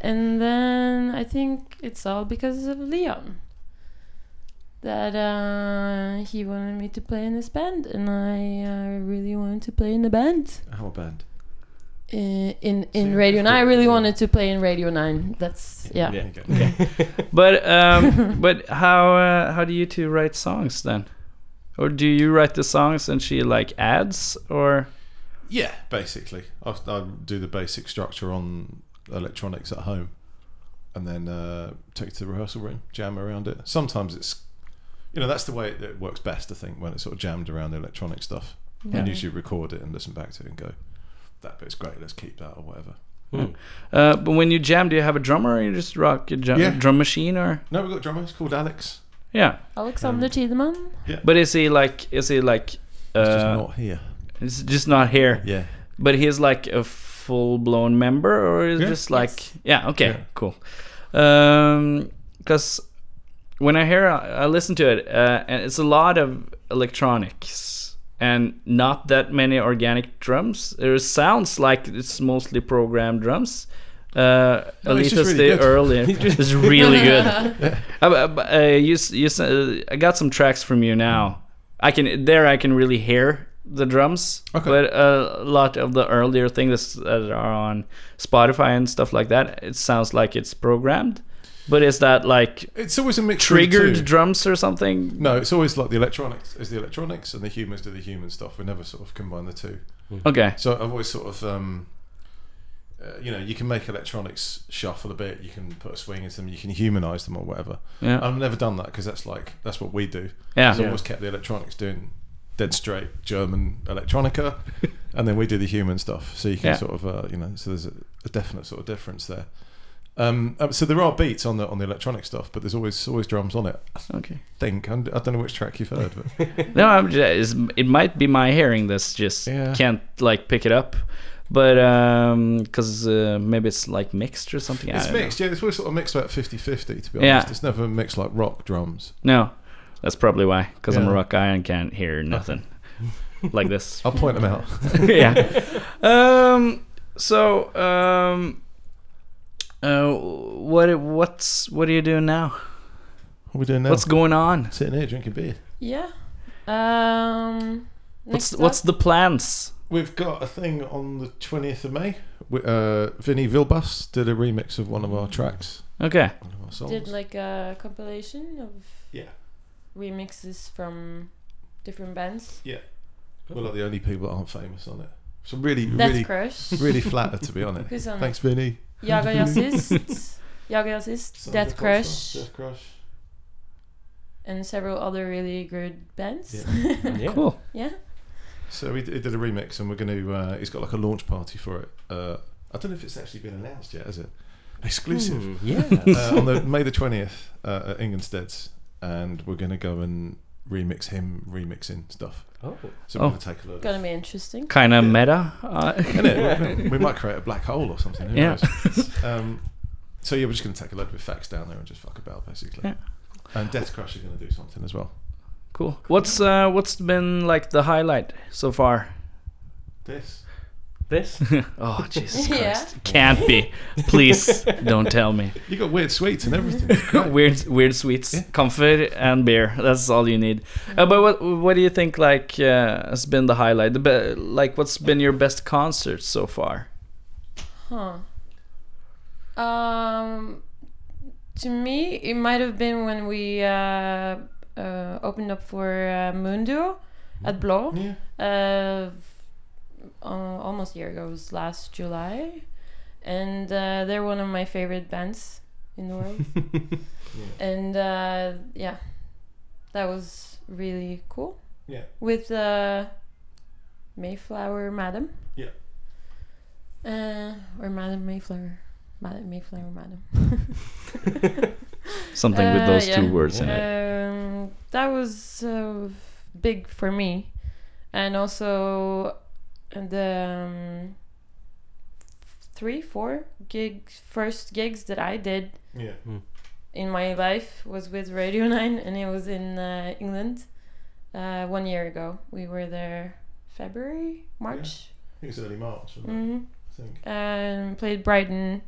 and then I think it's all because of Leon. That uh, he wanted me to play in this band, and I uh, really wanted to play in the band. How a band. In Eh, in, in So- Radio 9, I really wanted to play in Radio 9. That's, yeah. Yeah. Okay. But um, but how uh, how do you two write songs then? Or do you write the songs and she like adds or? Yeah, basically. I, I do the basic structure on electronics at home and then uh, take it to the rehearsal room, jam around it. Sometimes it's, you know, that's the way it, it works best, I think, when it's sort of jammed around the electronic stuff. And usually record it and listen back to it and go, that bit's great, let's keep that or whatever. Uh, but when you jam, do you have a drummer or you just rock a ju- Yeah. drum machine or No, we've got a drummer, he's called Alex. yeah? Alexander Tiedemann. But is he like is he like He's just uh, not here. it's just, not here? Yeah. But he's like a full blown member or is Yeah. just like yeah okay Yeah. cool. Um, because when I hear I, I listen to it uh, and it's a lot of electronics and not that many organic drums. It sounds like it's mostly programmed drums. Uh, No, Alita's it's just the really good. early. it's really good. Uh, but, uh, you, s- you, s- uh, I got some tracks from you now. I can there I can really hear the drums. But uh, a lot of the earlier things that are on Spotify and stuff like that, it sounds like it's programmed. But is that like it's always a mixture of the two. triggered drums or something? No, it's always like the electronics is the electronics and the humans do the human stuff. We never sort of combine the two. Okay. So I've always sort of, um, uh, you know, you can make electronics shuffle a bit. You can put a swing into them. You can humanize them or whatever. Yeah. Ah, I've never done that because that's like that's what we do. Yeah. Um, So I've always kept the electronics doing dead straight German electronica, and then we do the human stuff. So you can Yeah. sort of, uh, you know, so there's a, a definite sort of difference there. Um, uh, so there are beats on the on the electronic stuff, but there's always always drums on it. Okay. Think I'm, I don't know which track you've heard, but no, I'm just, it might be my hearing that's just can't like pick it up, but um, because uh, maybe it's like mixed or something. I it's don't know. mixed. Yeah, it's always sort of mixed about 50-50, To be honest, Yeah. it's never mixed like rock drums. No, that's probably why. Because I'm a Yeah. rock guy and can't hear nothing like this. I'll point them out. yeah. Um. So, um, uh, what what's what are you doing now? What are we doing now? What's going on? Sitting here drinking beer. Yeah. Um. What's next what's up- the plans? We've got a thing on the twentieth of May. We, uh, Vinny Vilbus did a remix of one of our tracks. Okay. One of our songs. Did like a compilation of yeah remixes from different bands. Yeah. We're like the only people that aren't famous on it. So really, That's really, Crush. really flattered to be honest. Who's on Thanks, it? Vinny. Yaga Yassist, Yaga Yassist, Sons Death of Popstar, Crush, Death Crush. and several other really good bands. Yeah. Yeah. Cool. Yeah. So we d- he did a remix, and we're going to. Uh, he's got like a launch party for it. Uh, I don't know if it's actually been announced yet, has it? Exclusive. Hmm, uh, on the yes. May the twentieth uh, at Ingenstead's, and we're going to go and remix him remixing stuff. Oh. So we're Oh. going to take a look. Gonna be interesting. Kind of meta. Uh, Innit? We- we might create a black hole or something. Who Yeah. knows? Um, so yeah, we're just going to take a load of facts down there and just fuck about basically. Yeah. And Death Crush is going to do something as well. Cool. What's uh what's been like the highlight so far? This. This? oh Jesus Christ! Yeah. Can't be. Please don't tell me. You got weird sweets and everything. weird weird sweets, comfort and beer. That's all you need. Uh, but what what do you think like uh, has been the highlight? The be- like what's been your best concert so far? Huh. Um, to me, it might have been when we uh, uh, opened up for uh, Mundo at Blanc. Uh, uh, almost a year ago, it was last July. And uh, they're one of my favorite bands in the world. And uh, yeah, that was really cool. Yeah. With uh, Mayflower Madam. Yeah. Uh, or Madam Mayflower. Madam Mayflower Madam. Something with those two words in it. Uh, Um, that was uh, big for me. And also the um, three, four gig first gigs that I did Yeah. Hmm. in my life was with Radio 9 and it was in uh, England uh, one year ago. We were there February, March, I think it's early March. Wasn't Mhm. it? I think and played Brighton.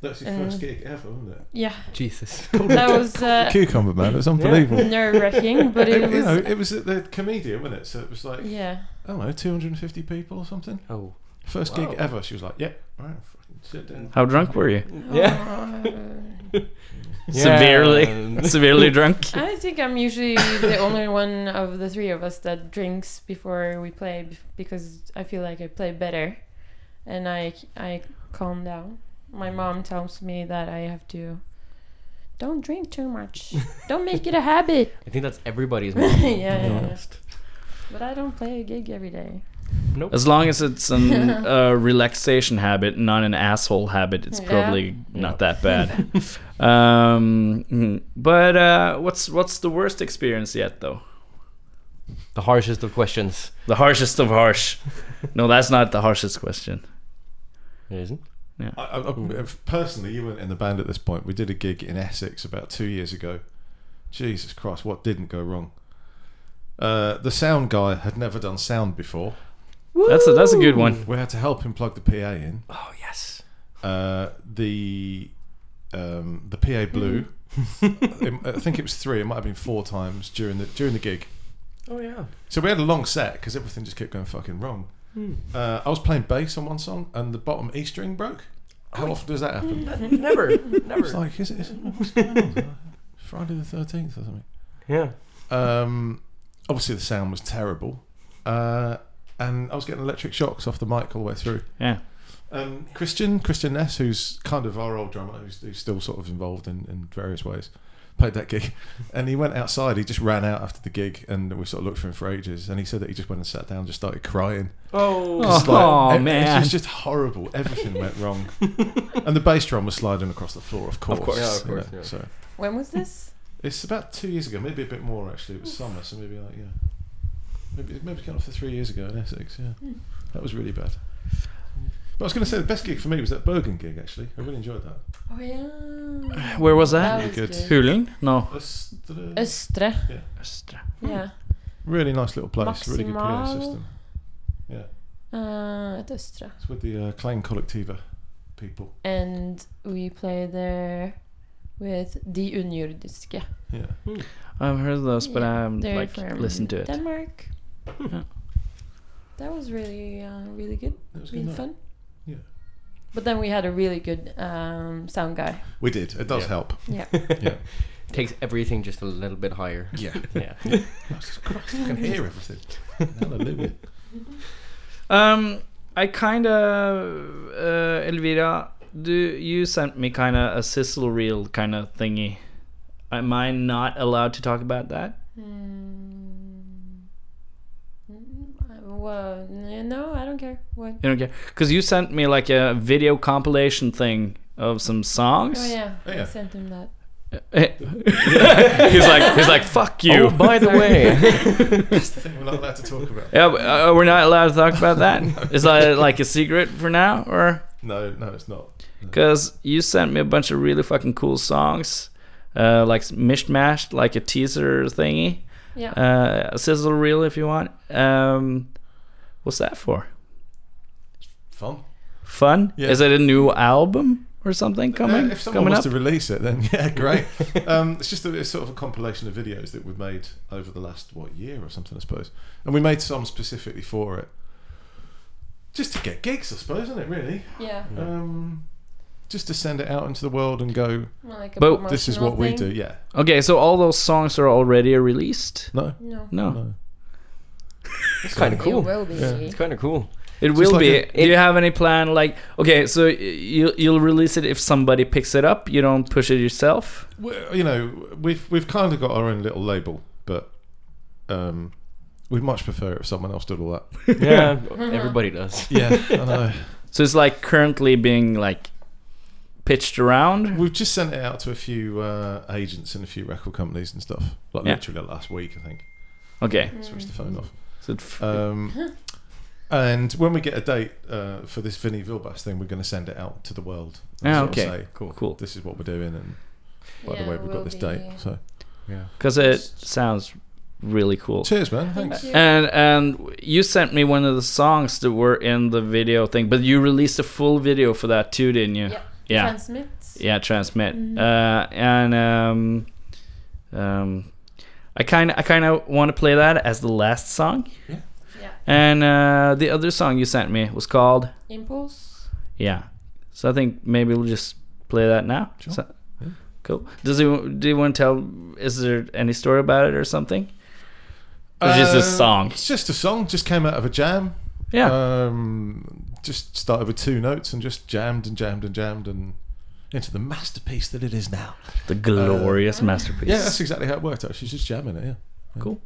that's your Uh, first gig ever, wasn't it? Yeah. Jesus. Oh That was uh, Cucumber man, it was unbelievable. nerve wracking, but it you was. know, it was at the comedian, wasn't it? So it was like, Yeah. I don't know, 250 people or something. Oh. First Wow. gig ever. She was like, yeah, all right, fucking sit down. How drunk were you? Yeah. Severely Yeah. severely drunk. I think I'm usually the only one of the three of us that drinks before we play bef- because I feel like I play better and I, I calm down. My mom tells me that I have to don't drink too much. don't make it a habit. I think that's everybody's mom. yeah, yeah, yeah. But I don't play a gig every day. Nope. As long as it's an uh, relaxation habit, not an asshole habit, it's Yeah. probably not that bad. um, mm. but uh, what's what's the worst experience yet, though? The harshest of questions. The harshest of harsh. no, that's not the harshest question. It isn't. I, I, I- personally, you weren't in the band at this point. We did a gig in Essex about two years ago. Jesus Christ, what didn't go wrong? Uh, the sound guy had never done sound before. That's a that's a good one. We had to help him plug the PA in. Oh yes. Uh, the um, the PA blew. I think it was three. It might have been four times during the during the gig, Oh, yeah. So we had a long set because everything just kept going fucking wrong. Hmm. Uh, I was playing bass on one song and the bottom E string broke. How Oh, often does that happen? never, never. It's like, is it, is it what's going on? Friday the 13th or something? Yeah. Um, obviously, the sound was terrible. Uh, and I was getting electric shocks off the mic all the way through. Yeah. Um, Christian, Christian Ness, who's kind of our old drummer, who's, who's still sort of involved in, in various ways, played that gig. And he went outside. He just ran out after the gig, and we sort of looked for him for ages. And he said that he just went and sat down, and just started crying. Oh. 'Cause, Oh, it- It man. was just horrible. Everything went wrong. and the bass drum was sliding across the floor, of course. course. Yeah, of you course, know, yeah. So When was this? it's about two years ago, maybe a bit more actually. It was summer, so maybe like yeah, maybe maybe came off for three years ago in Essex. Yeah, that was really bad. But I was going to say the best gig for me was that Bergen gig actually. I really enjoyed that. Oh yeah. Where was that? was good. Hulen? No. Östra. Östra. Yeah. Östra. Yeah. Really nice little place. Really good PA Maximal. system. Yeah, Uh, at Östra. it's with the uh, Klein Kollektiva people. And we play there with De Unnjordiske. Yeah. I've heard of those, but I Mm, haven't They're like from listened to it. Denmark. Hmm. That was really, uh, really good. was really good night. fun. Yeah. But then we had a really good um, sound guy. We did. It does help. Yeah. yeah. Takes everything just a little bit higher. Yeah. Yeah. I can hear everything. Hallelujah. Um, I kind of uh, Elvira, do you sent me kind of a sizzle reel kind of thingy? Am I not allowed to talk about that? Mm, Uh, Well, n- no, I don't care. What? You don't care because you sent me like a video compilation thing of some songs. Oh yeah, Oh, yeah. I sent him that. he's like he's like fuck you. Oh, by the way. That's the thing we're not allowed to talk about. Yeah, but, uh, we're not allowed to talk about that. Is that like a secret for now, or? No, no, it's not. Because you sent me a bunch of really fucking cool songs, uh, like mishmashed, like a teaser thingy. Yeah. Uh, a sizzle reel, if you want. Um, what's that for? Fun. Fun? Yeah. Is it a new album or something coming? Uh, if someone coming wants up? to release it, then yeah, great. um, it's just a, it's sort of a compilation of videos that we've made over the last what year or something, I suppose. And we made some specifically for it, just to get gigs, I suppose, isn't it? Really. Yeah. Um, just to send it out into the world and go. Like a But this is promotional what we do. thing? Yeah. Okay, so all those songs are already released. No. No. No. It's kind of It cool. will be. Yeah. It's kind of cool. It Just will like be. a- Do you have any plan? Like, okay, so y- you you'll release it if somebody picks it up. You don't push it yourself. We're, you know, we've we've kind of got our own little label, but um, we'd much prefer if someone else did all that. Yeah, everybody does. Yeah, I know. So it's like currently being like pitched around. We've just sent it out to a few uh, agents and a few record companies and stuff. Like Yeah. literally last week, I think. Okay. Switched the Mm. phone off. So it f- Um, and when we get a date uh, for this Vinnie Vilbas thing, we're going to send it out to the world. and Ah, sort of okay. say, Cool. Cool. This is what we're doing, and by Yeah, the way, we've we'll got this be- date. So Yeah. Because it sounds really cool. cheers, man. Thanks. you. And and you sent me one of the songs that were in the video thing, but you released a full video for that too, didn't you? Yeah. Yeah. Transmit. Yeah, transmit. Mhm. Uh, and um, um, I kind I kind of want to play that as the last song. Yeah. And uh, the other song you sent me was called Impulse. yeah. So I think maybe we'll just play that now. Sure. So- Yeah. cool. Does it, do you want to tell? Is there any story about it or something? Or just a Uh, song. It's just a song. Just came out of a jam. Yeah. uh, Um, just started with two notes and just jammed and jammed and jammed and into the masterpiece that it is now. The glorious masterpiece. uh, Yeah, that's exactly how it worked out. She's just jamming it, yeah. cool.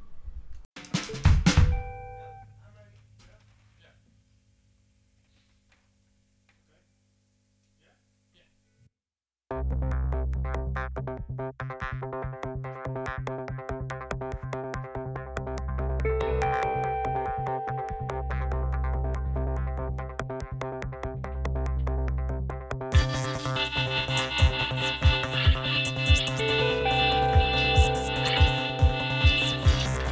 Thank you.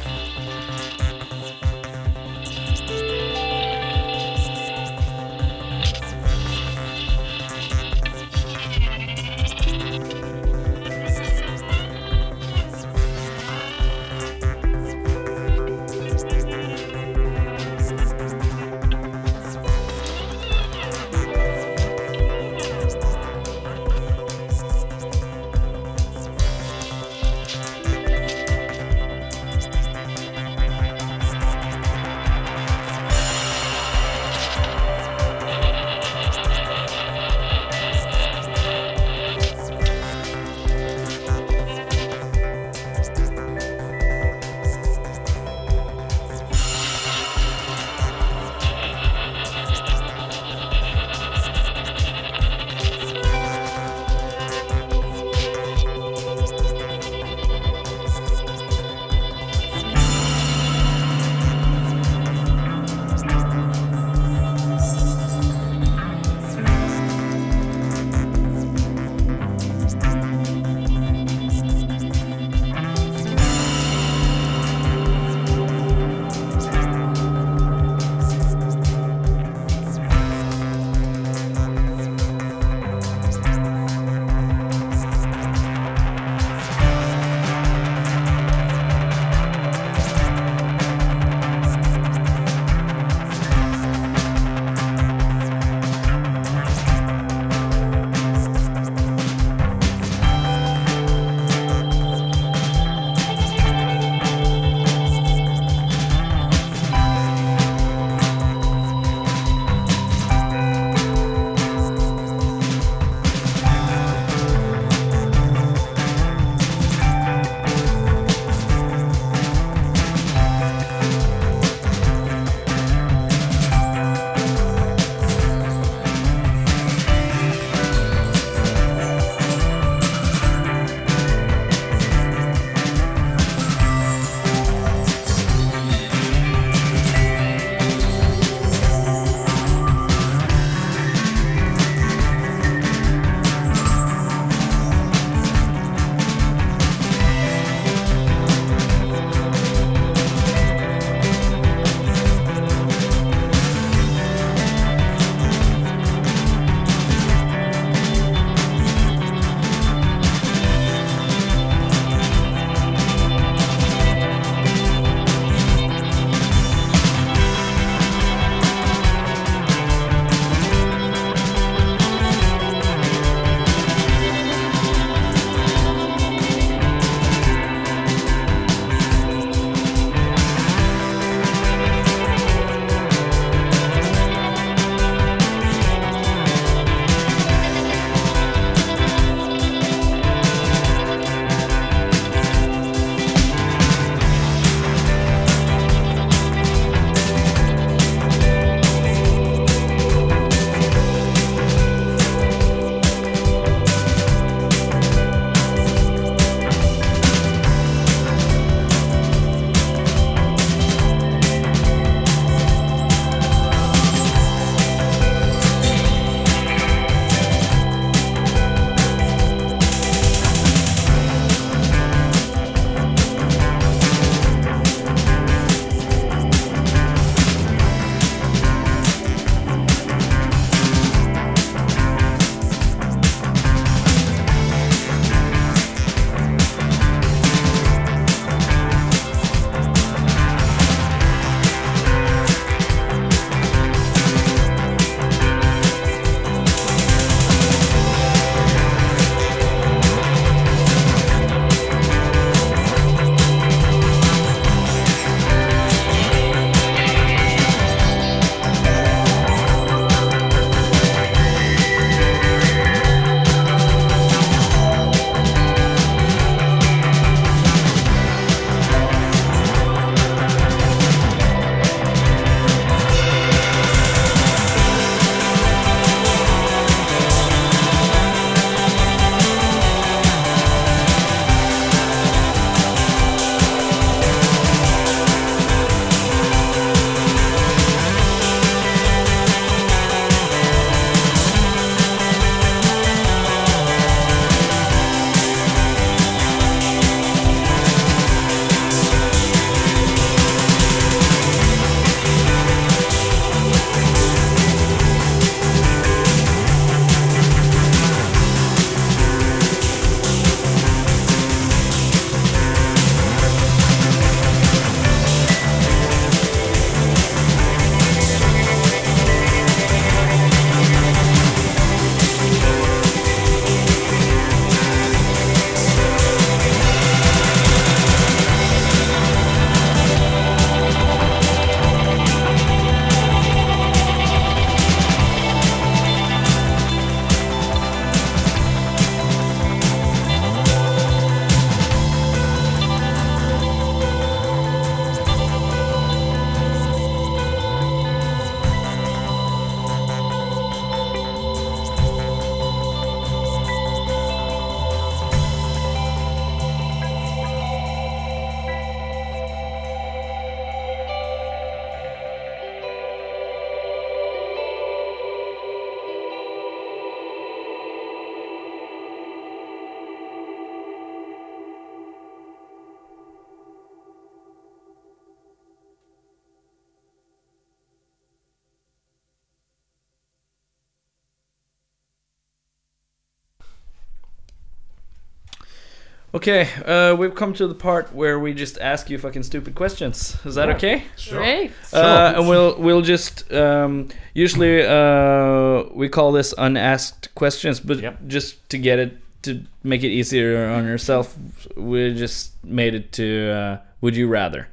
Okay, uh, we've come to the part where we just ask you fucking stupid questions. Is that Yeah. okay? Sure. Great. Uh, and we'll we'll just um, usually uh, we call this unasked questions, but just to get it to make it easier on yourself, we just made it to uh, would you rather.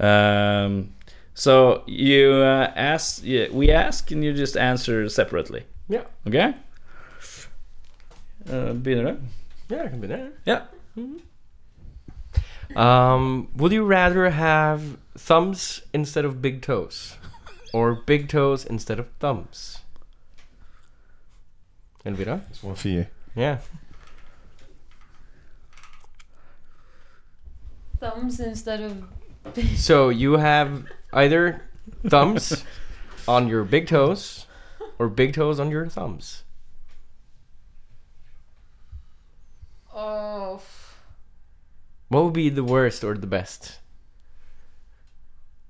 Um, so you uh, ask, yeah, we ask, and you just answer separately. Yeah. Okay. Uh, begynner du? Yeah, jeg kan begynne. Yeah. Um, would you rather have thumbs instead of big toes? Or big toes instead of thumbs? Elvira? It's one for you. Yeah. Thumbs instead of. So you have either thumbs on your big toes or big toes on your thumbs. Oh. What would be the worst or the best?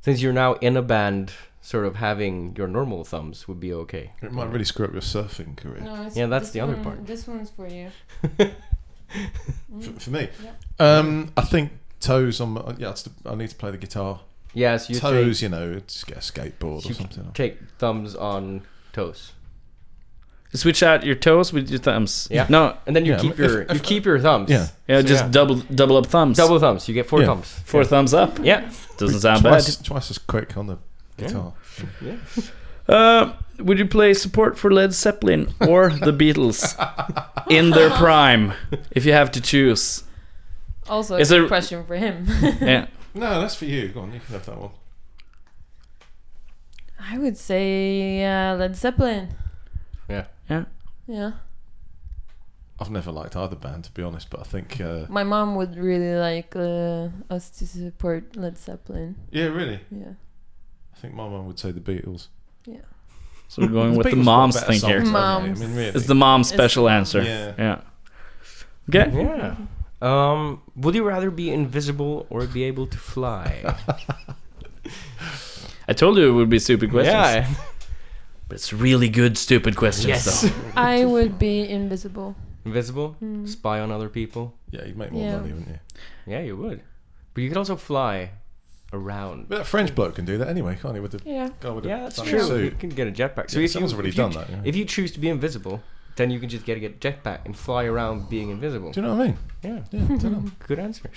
Since you're now in a band, sort of having your normal thumbs would be okay. It might really screw up your surfing career. No, it's, yeah, that's this the other one- part. This one's for you. for, for me. Yeah. Um, I think toes on. My, yeah, it's the, I need to play the guitar. Yes, you toes. take- you know, it's get a skateboard or You something. Take thumbs on toes. Switch out your toes with your thumbs. Yeah. No, And then you Yeah, keep if- your if- you keep your thumbs. Yeah. Yeah, just double double up thumbs. Double thumbs. You get four Yeah. thumbs. Four thumbs up? Yeah. Doesn't sound twice, bad. Twice as quick on the Yeah. guitar. Yeah. Uh, would you play support for Led Zeppelin or the Beatles in their prime if you have to choose? Also, Is a there- good question for him. Yeah. No, that's for you. Go on, you can have that one. I would say uh, Led Zeppelin. Yeah. Yeah. Yeah. I've never liked either band to be honest, but I think. Uh, My mom would really like uh, us to support Led Zeppelin. yeah, really. Yeah. I think my mum would say the Beatles. Yeah. So we're going The with the Beatles got mom's better thing here. songs, haven't Moms. they? I mean, really. It's the mom's It's- special answer. Yeah. Yeah. Okay. Yeah. Um, would you rather be invisible or be able to fly? I told you it would be stupid questions. Yeah. But it's really good stupid questions Yes. though. I would be invisible. invisible, Mm. spy on other people. Yeah, you'd make more Yeah. money, wouldn't you? Yeah, you would. But you could also fly around. But that French bloke can do that anyway, can't he? With the Yeah. guy with the Yeah, that's funny true. You suit. can get a jetpack. So Yeah, if someone's you, already if you- done that, yeah. If you choose to be invisible, then you can just get a get jetpack and fly around being invisible. Do you know what I mean? Yeah. Yeah, I don't know. Good answer.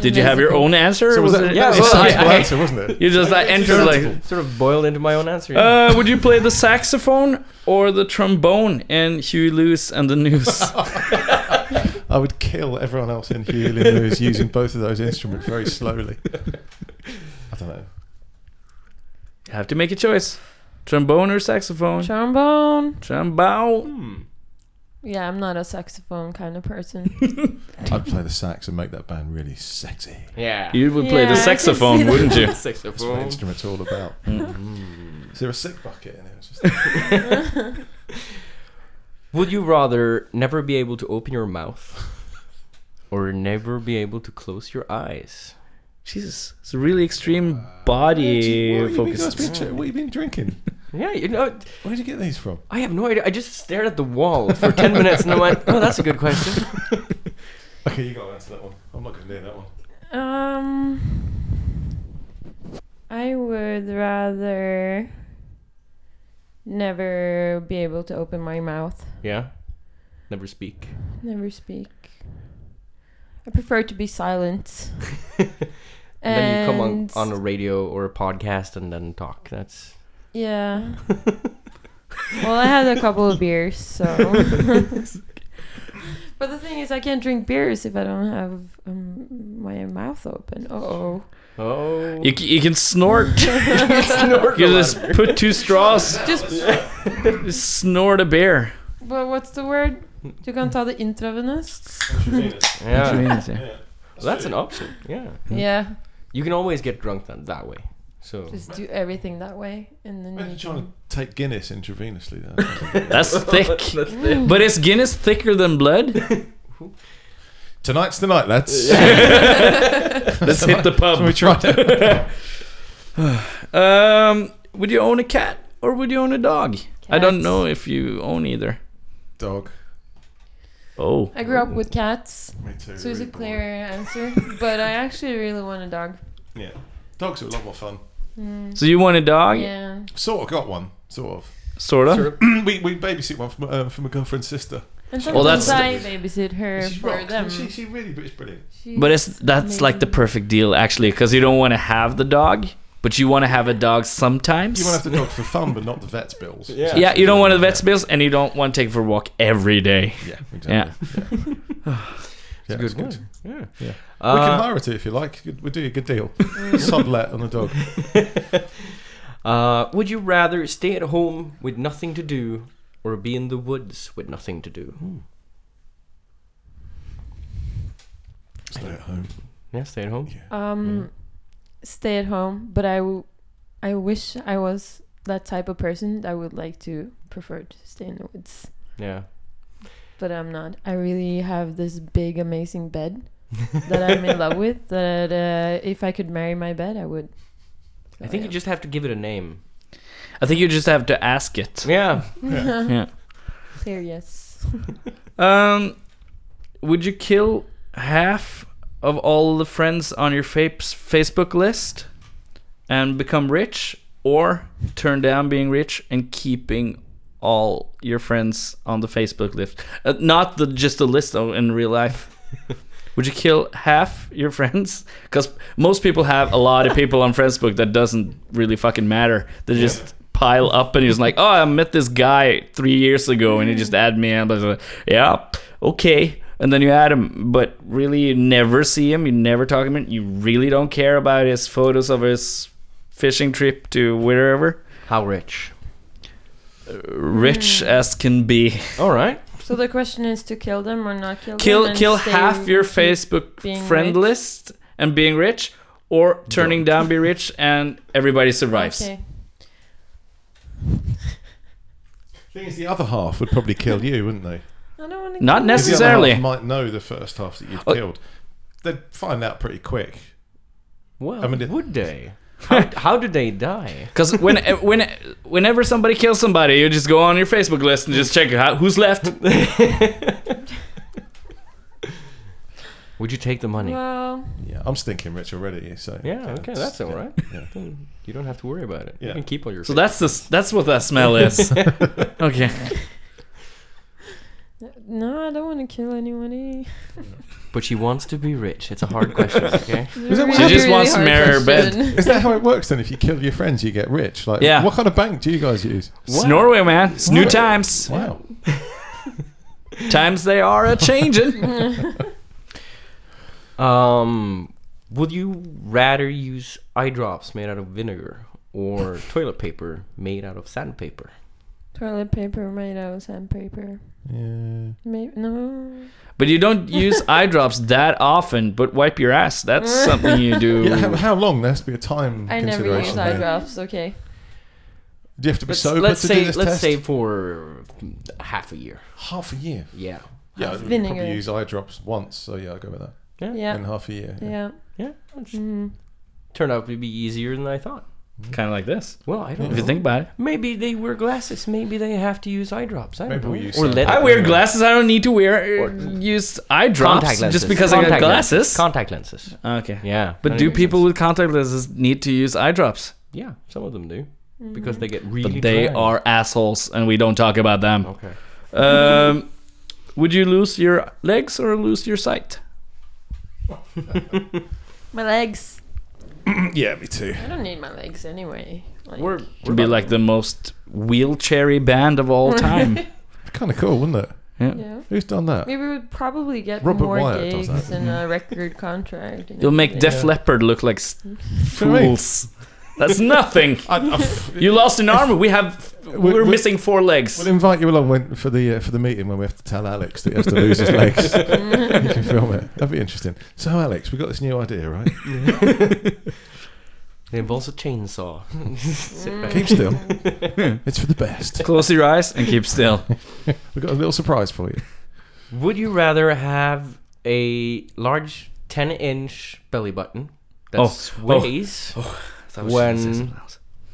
Did you have your own answer? So or was was that- it- yeah, well, I- sensible I- answer, wasn't it? You just like entered like Sort of boiled into my own answer. yeah. Uh, would you play the saxophone or the trombone in Huey Lewis and the News? I would kill everyone else in Huey Lewis using both of those instruments very slowly. I don't know. you have to make a choice: trombone or saxophone. Trombone. Trombone. Hmm. Yeah, I'm not a saxophone kind of person. I'd play the sax and make that band really sexy. Yeah. You would play Yeah, the I can see saxophone, that. wouldn't you? That's what Saxophone. instruments are all about. Mm. Is there a sick bucket in it? It's just- Would you rather never be able to open your mouth or never be able to close your eyes? Jesus, it's a really extreme body What have you been- guys focused. been ch- what have you been drinking? Yeah, you know, Where did you get these from? I have no idea. I just stared at the wall for 10 minutes and I went, oh, that's a good question. Okay, you got to answer that one. I'm not going to do that one. um, I would rather never be able to open my mouth, Yeah. Never speak. never speak. I prefer to be silent. And then you come on, on a radio or a podcast and then talk. That's. Yeah. well, I had a couple of beers, so. but the thing is, I can't drink beers if I don't have um, my mouth open. Uh oh. Oh. You, c- you can snort. snort you just put two straws, Just, just snort a beer. but what's the word? Hmm. Du kan ta det intravenous. Yeah. Yeah. Well, that's an option. Yeah. Yeah, You can always get drunk that, that way. So. just do everything that way, and then Imagine you trying to can. take Guinness intravenously. Though. That's thick. But is Guinness thicker than blood? Tonight's the night, lads. Let's hit the pub. So we tried it. Um, would you own a cat or would you own a dog? I don't Cats. know if you own either. Dog. Oh. I grew up with cats. Me too, So it's a really clear answer. But I actually really want a dog. Yeah. Dogs are a lot more fun. Mm. So you want a dog? Yeah. Sort of got one. Sort of. Sort of. we, we babysit one from, uh, from a girlfriend's sister. And Well, sometimes that's- I babysit her She's for rock. them. She, she really is brilliant. She's But it's that's like the amazing. perfect deal actually, because you don't want to have the dog, but you want to have a dog sometimes. You want to have the dog for fun, but not the vet's bills. Yeah. yeah, you don't want the vet's bills, and you don't want to take for a walk every day. Yeah, exactly. Yeah. Yeah, it's good. Yeah. Yeah. we can Uh, hire it if you like. Good- We'll do you a good deal. Sublet on the dog. uh, would you rather stay at home with nothing to do or be in the woods with nothing to do? Stay at home. Yeah, stay at home. Hmm. um, stay at home. But I, w- I wish I was that type of person. that would like to prefer to stay in the woods. Yeah. but I'm not. I really have this big, amazing bed that I'm in love with. That uh, if I could marry my bed, I would. Oh, I think you just have to give it a name. I think you just have to ask it. Yeah. Yeah. Clear yes. Um, would you kill half of all the friends on your fapes Facebook list and become rich, or turn down being rich and keeping all your friends on the Facebook list? Uh, not the just the list though, in real life. Would you kill half your friends? Because most people have a lot of people on Facebook that doesn't really fucking matter. They just pile up and he's like, oh, I met this guy three years ago and he just added me. And I was like, yeah, okay. And then you add him, but really you never see him. You never talk to him. You really don't care about his photos of his fishing trip to wherever. How rich? Rich as can be. All right. So the question is to kill them or not kill them. kill and kill stay half your keep Facebook being friend rich? list and being rich, or turning down be rich and everybody survives. Okay. Thing is, the other half would probably kill you, wouldn't they? I don't want to. Not If the other Necessarily. half might know the first half that you've Oh. killed. They'd find out pretty quick. Well, I mean, it- would they? How, how did they die? Because when when whenever somebody kills somebody, you just go on your Facebook list and just check how, who's left. Would you take the money? Well, Yeah, I'm stinking rich already. So yeah, okay, that's all right. yeah. Then You don't have to worry about it. You Yeah. can keep all your. So that's the s- that's what that smell is. okay. no, I don't want to kill e-. anybody. But she wants to be rich. It's a hard question. Okay. Is that what- She just wants to marry her Is that how it works then? If you kill your friends, you get rich. Like, Yeah. what kind of bank do you guys use? It's Norway, man. It's new times. Wow. Times they are a changing. Um, would you rather use eye drops made out of vinegar or toilet paper made out of sandpaper? Toilet paper made out of sandpaper. Yeah. Maybe no. but you don't use eye drops that often. But wipe your ass. That's something you do. Yeah, how, how long? There has to be a time I never consideration. use there. eye drops. Okay. Do you have to be Let's, sober let's to say do this let's test? say for half a year. half a year. Yeah. Yeah, I'd vinegar. probably use eye drops once. So yeah, I'll go with that. Yeah. In half a year. Yeah. Yeah. it's- Mhm. Turned out to be easier than I thought. Kind of like this. Well, I don't. If you know. think about it. Maybe they wear glasses. Maybe they have to use eye drops. I don't Maybe know. we use or some- let I wear glasses. I don't need to wear Or- use eye drops contact lenses. just because I Contact got glasses. Ah, Lenses. Contact lenses. okay. Yeah. But that do makes people sense. with contact lenses need to use eye drops? Yeah, some of them do because they get really. Mm. But they dry. are assholes, and we don't talk about them. Okay. Um, would you lose your legs or lose your sight? My legs. Yeah, me too. I don't need my legs anyway. Like, We're, To be like the most wheelchairy band of all time. Kind of cool, wouldn't it? yeah. yeah. Who's done that? Maybe we'd probably get Robert more Wyatt does gigs that. and a record contract. and You'll make everything. Def Leppard look like s- For me. fools. That's nothing. I, I f- You lost an arm. We have. We're, we- missing four legs. we'll invite you along when, for the uh, for the meeting when we have to tell Alex that he has to lose his legs. you can film it. That'd be interesting. So Alex, we got this new idea, right? It involves a chainsaw. Sit Mm. back. Keep still. it's for the best. Close your eyes and keep still. We've got a little surprise for you. Would you rather have a large 10 inch belly button that Oh, sways when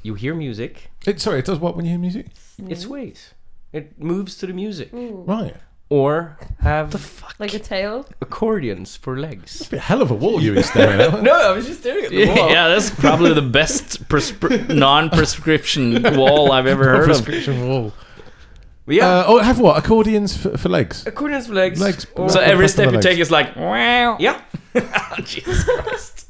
you hear music? It, sorry, it does what when you hear music? It sways. It moves to the music. Right. or have Like a tail. accordions for legs. a hell of a wall you were staring at. no, I was just staring at the wall. yeah, that's probably the best prescri- non-prescription wall I've ever heard Non-prescription of. wall. Yeah. Uh, oh, have what? Accordions for, for legs. Accordions for legs. Legs. so every Legs. step you take is like, wow. Yeah. Jesus Christ.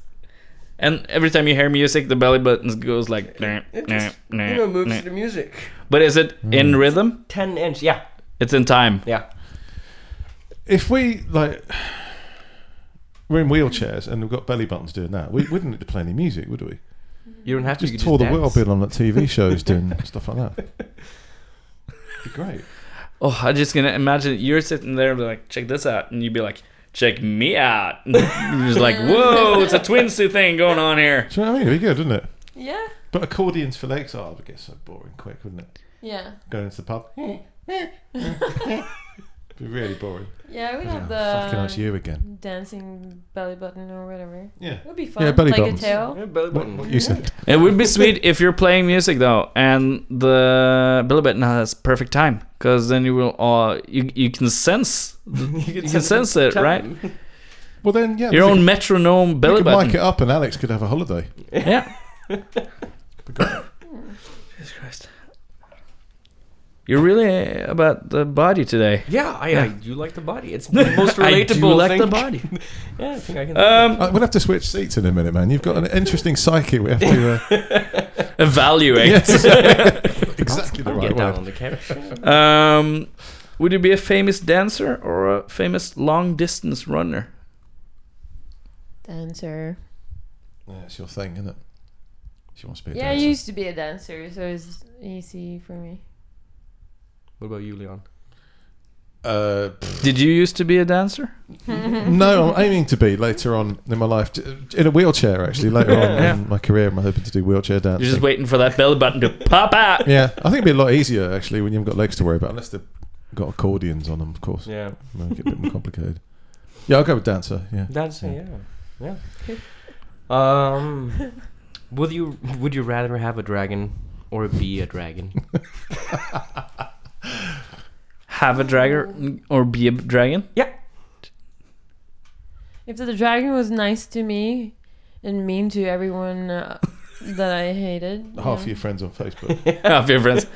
And every time you hear music, the belly buttons goes like, nah, It nah, just, nah, you know, moves nah. to the music. But is it Mm. in rhythm? Ten inch, yeah. It's in time. Yeah. If we like, we're in wheelchairs and we've got belly buttons doing that. We wouldn't need to play any music, would we? You don't have to. Just you tour the dance. world, being on like TV shows doing stuff like that. Be great. Oh, I'm just gonna imagine you're sitting there and be like, check this out, and you'd be like, check me out. And you're just like, whoa, it's a twinsu thing going on here. Do you know what I mean? It'd be good, wouldn't it? Yeah. But accordions for legs, oh, it would get so boring quick, wouldn't it? Yeah. Going into the pub, be really boring. yeah, we have the Fucking that's you again. dancing belly button or whatever. Yeah. It would be fun. Yeah, belly like buttons. a tail. Yeah, belly What, what you said. It would be sweet if you're playing music though, and the Billy Button has perfect time, because then you will, uh, you you can sense, you can, sense, it, right? Well, then, yeah. Your we own could- metronome we Belly could Button. mic it up, and Alex could have a holiday. Yeah. Jesus Christ. You're really about the body today. Yeah, I, I do like the body. It's the most relatable. I do like thing. the body. yeah, I think I can. Um, Uh, we'll have to switch seats in a minute, man. You've got an interesting psyche. We have to. Uh, evaluate. yes. exactly the I'll right get down word. on the couch. Um, would you be a famous dancer or a famous long distance runner? Dancer. Yeah, it's your thing, isn't it? She wants to be a yeah, dancer. I used to be a dancer, so it's easy for me. what about you, Leon? Uh, pff, Did you used to be a dancer? no, I'm aiming to be later on in my life. J- In a wheelchair, actually. Later on in my career, I'm hoping to do wheelchair dancing. You're just waiting for that belly button to pop out. Yeah, I think it'd be a lot easier, actually, when you haven't got legs to worry about, unless they've got accordions on them, of course. Yeah, Make it a bit more complicated. Yeah, I'll go with dancer, yeah. dancing. Yeah, yeah. Um, would you would you rather have a dragon or be a dragon? Have a dragon or be a dragon? If the dragon was nice to me and mean to everyone uh, that I hated, Half yeah. of your friends on Facebook. Have your friends.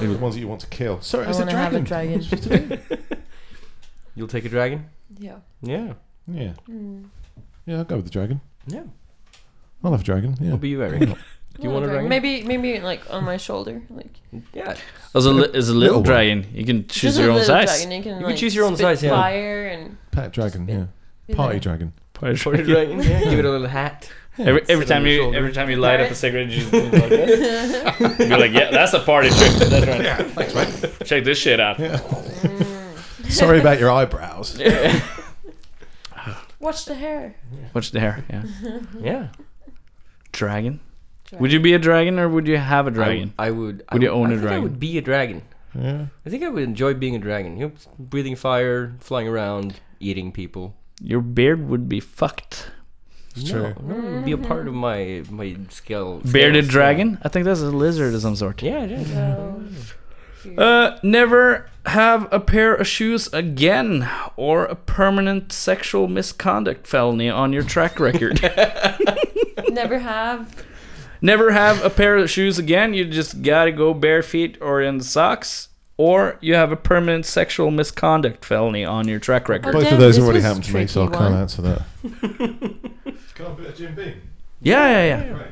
the ones that you want to kill. Sorry, I it's a want to have a dragon. dragon. You'll take a dragon. yeah. Yeah, Yeah. Mm. Yeah, I'll go with the dragon. yeah. I'll have a dragon, yeah. What be you, Eric? Do you I want a dragon? Maybe, maybe like on my shoulder, like Yeah. As a, li- as a little Little one. dragon, you can choose Just a your own little size. Dragon. You can, You can like, choose your own spit size, yeah. Fire and Pet dragon, Just yeah. be Party like- dragon. For a dragon. Yeah. Give it a little hat. Every, every Sit on time your you shoulder. every time you light up a cigarette, you just go like this. You're like, yeah, that's a party trick. That's right. thanks, man. Check this shit out. Sorry about your eyebrows. watch the hair. What's there? Yeah. Yeah. Dragon. Would you be a dragon or would you have a dragon? I would. I Would you would- own I a think I dragon? would be a dragon. Yeah. I think I would enjoy being a dragon. You know, breathing fire, flying around, eating people. Your beard would be fucked. It's No, true. no, it would be a part of my my scale. Bearded scales, dragon? I think that's a lizard of some sort. Yeah, yeah. it is. So, Uh, never have a pair of shoes again or a permanent sexual misconduct felony on your track record. never have. never have a pair of shoes again. You just gotta go bare feet or in socks. Or you have a permanent sexual misconduct felony on your track record. Both Again, of those this already was happened to me, so I tricky can't one. answer that. Can I be a Jim Beam? Yeah, yeah,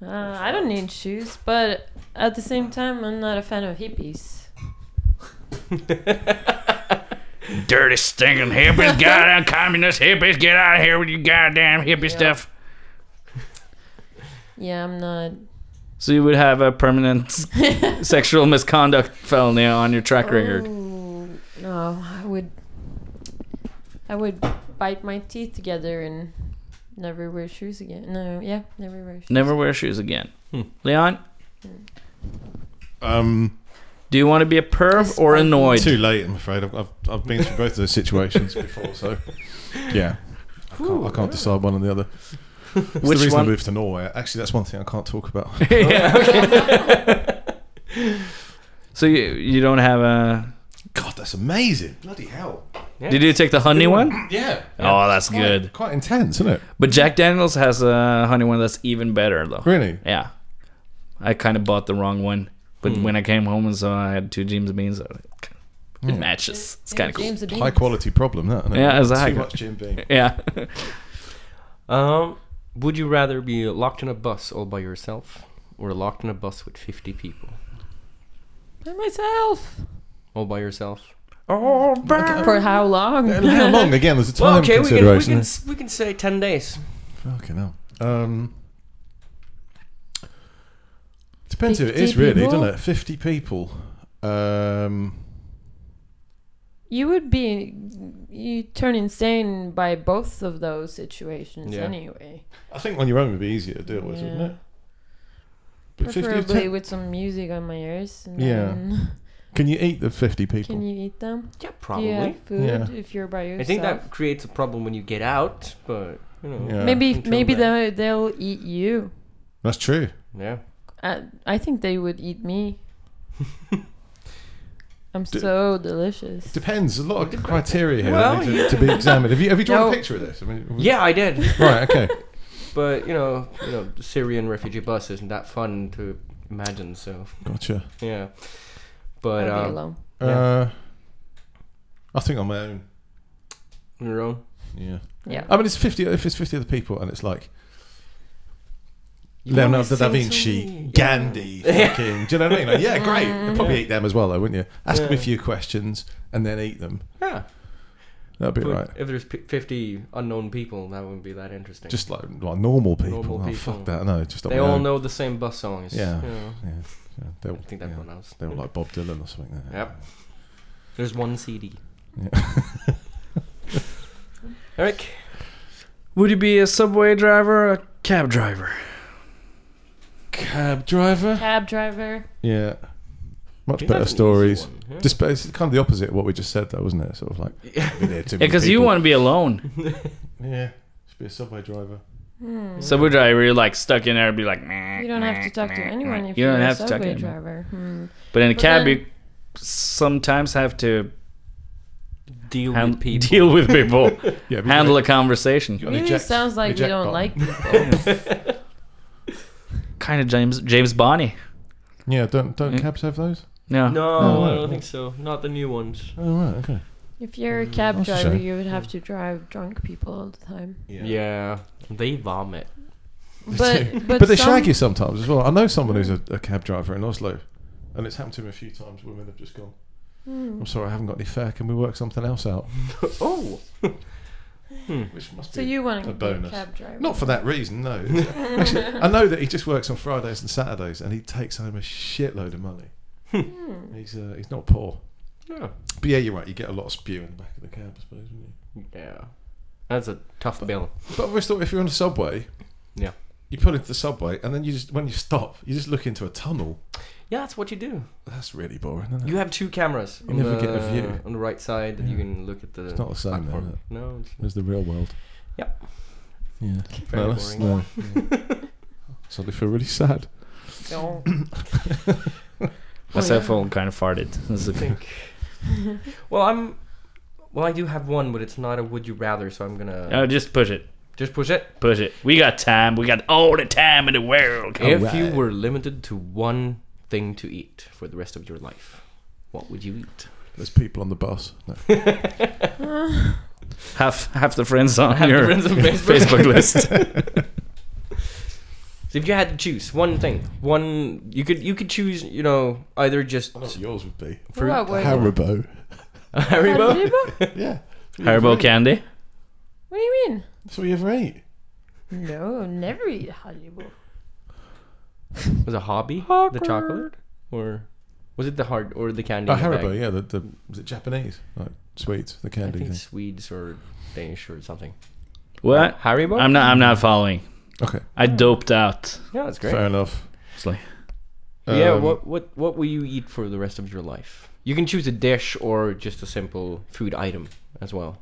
yeah. Uh, I don't need shoes, but at the same time, I'm not a fan of hippies. Dirty, stinking hippies, goddamn communist hippies, get out of here with your goddamn hippie stuff. Yeah, I'm not. So you would have a permanent sexual misconduct felony on your track record. Oh. Ooh, Mm, no, I would. I would bite my teeth together and never wear shoes again. No, yeah, never wear shoes. Never wear shoes again. Hmm. Leon, Um, do you want to be a perv or annoyed? too late, I'm afraid. I've, I've, I've been through both of those situations before, so yeah. I can't, I can't decide one or the other. It's the Which reason I one? moved to Oh. Norway. Actually, that's one thing I can't talk about. yeah, okay. So you you don't have a. God, that's amazing! Bloody hell! Did you take the honey one? Yeah. Oh, that's Quite- good. Quite intense, isn't it? But Jack Daniels has a honey one that's even better though. Really? Yeah. I kind of bought the wrong one, but Hmm. when I came home and saw I had two James Beans, I was like, it Hmm. matches. It's kind of cool. James Bean. High quality problem, that. isn't it? Yeah, exactly. Too much Jim Beam. Yeah. um, would you rather be locked in a bus all by yourself or locked in a bus with 50 people? By myself. All by yourself? Oh, For how long? And how long again? There's a time we consideration. can, s- we can say 10 days. Fucking hell. Um, depends who it 50 is, really, people? doesn't it? Fifty people. Um, You would be you turn insane by both of those situations Yeah. anyway. I think on your own would be easier to deal with, wouldn't Yeah. it? But 50 Preferably ten- with some music on my ears. And Yeah. then- Can you eat the fifty people? Can you eat them? Yeah, Do probably. you have food Yeah. if you're by yourself? I think that creates a problem when you get out, but, you know. Yeah. maybe until maybe then. they they'll eat you. That's true. Yeah. I, I think they would eat me. I'm so delicious. Depends. A lot of criteria here Well, that need to, yeah. to be examined. Have you, have you drawn No. a picture of this? I mean, was- Yeah, I did. Right. Okay. But, you know, you know, the Syrian refugee bus isn't that fun to imagine, so. Gotcha. Yeah. But, I'll be um, alone. Uh, I think on my own. on your own. Yeah. Yeah. I mean, it's fifty. If it's fifty other people, and it's like You Leonardo wanna da sing Vinci, something? Gandhi, Yeah. fucking. Do you know what I mean? Like, yeah, great. You'd probably eat them as well, though, wouldn't you? Ask them a Yeah. few questions and then eat them. Yeah. That'd be But right. If there's p- 50 unknown people, that wouldn't be that interesting. Just like, like normal people. Normal oh, people. fuck that. No, just on They my all own. know the same bus songs. Yeah. you yeah. know. yeah. They all, I think everyone else. They were like Bob Dylan or something. Like that. Yep. There's one CD. Yeah. Eric? Would you be a subway driver or a cab driver? Cab driver. Cab driver. Yeah. Much You have better an easy stories. one, yeah. Just but it's kind of the opposite of what we just said, though, wasn't it? Sort of like yeah, Yeah, because you want to be alone. Mm-hmm. yeah, should be a subway driver. Hmm. Subway driver, you're like stuck in there and be like, meh. You don't have to talk to anyone if You are don't a have to talk to subway anyone. driver. Hmm. But in a But cab, then- you sometimes have to deal with people. Deal with people. yeah, handle a conversation. Really sounds like we don't like people. kind of James James Bonnie. Yeah, don't Mm. don't cabs have those? No. No, No, I no, don't no. think so. Not the new ones. Oh right, okay. if you're a Mm, That's cab a driver, shame. you would have to drive drunk people all the time. Yeah. They vomit. But but, But, they some- shag you sometimes as well. I know someone who's a, a cab driver in Oslo, and it's happened to him a few times. Women have just gone. Hmm. I'm sorry, I haven't got any fare. Can we work something else out? oh. Which must So be you want to a be a bonus. cab driver? Not for that reason, no. Actually, I know that he just works on Fridays and Saturdays, and he takes home a shitload of money. Hmm. he's uh, he's not poor. Yeah. But yeah, you're right. You get a lot of spew in the back of the cab, I suppose, wouldn't you? Yeah. That's a tough bill. But I always thought if you're on a subway, Yeah. you pull into the subway, and then you just when you stop, you just look into a tunnel. Yeah, that's what you do. That's really boring, isn't it? You have two cameras. You on never the, get a view. On the right side, that you Yeah. can look at the. It's not the same, though, platform. is it? No, it's There's the real world. Yep. Yeah. Very no, that's, boring. no. Suddenly feel really sad. No. Oh, My cell yeah. phone kind of farted. That's I okay. think. well, I'm. Well, I do have one, but it's not a would you rather, so I'm gonna Oh, just push it. just push it. Push it. We got time. We got all the time in the world. If you Alright. were limited to one thing to eat for the rest of your life, what would you eat? There's people on the bus. No. half half the friends on Have your friends on Facebook. list. so if you had to choose one thing, one you could you could choose, you know, either just I know what yours would be. fruit, What would- Haribo. Haribo, yeah. Haribo candy. What do you mean? That's what you ever eat. No, never eat Haribo. was a hobby the chocolate or was it the hard or the candy? Oh, in the Haribo, bag? yeah. The, the was it Japanese? Like sweets, the I candy think thing. Swedes or Danish or something. What? Haribo? I'm not. I'm not following. Okay, I doped out. Yeah, that's great. fair enough. It's like yeah, Um, what what what will you eat for the rest of your life? You can choose a dish or just a simple food item as well.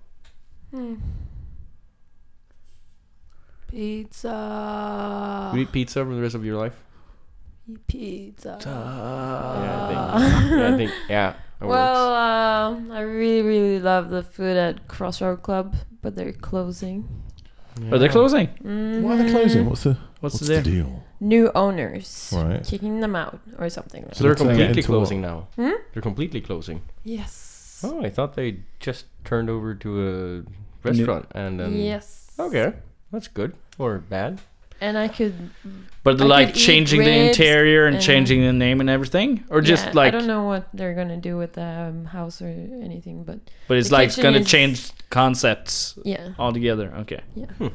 Pizza. Would you eat pizza for the rest of your life? Pizza. Yeah, I think- yeah, I think- yeah, that well, um, I really, really love the food at Crossroad Club, but they're closing. Are they closing? Mm. Why are they closing? What's the What's what's, the the, deal? deal? New owners Right. kicking them out or something. So they're Let's get completely into what- closing now. Hmm? They're completely closing. Yes. Oh, I thought they just turned over to a restaurant and then. Yes. Okay, that's good or bad. And I could. But I like could eat changing the ribs interior and changing the name and everything, or just Yeah, I like, don't know what they're gonna do with the um, house or anything, but. but it's the like kitchen gonna is- change concepts. Yeah. Altogether. Okay. Yeah. Hmm.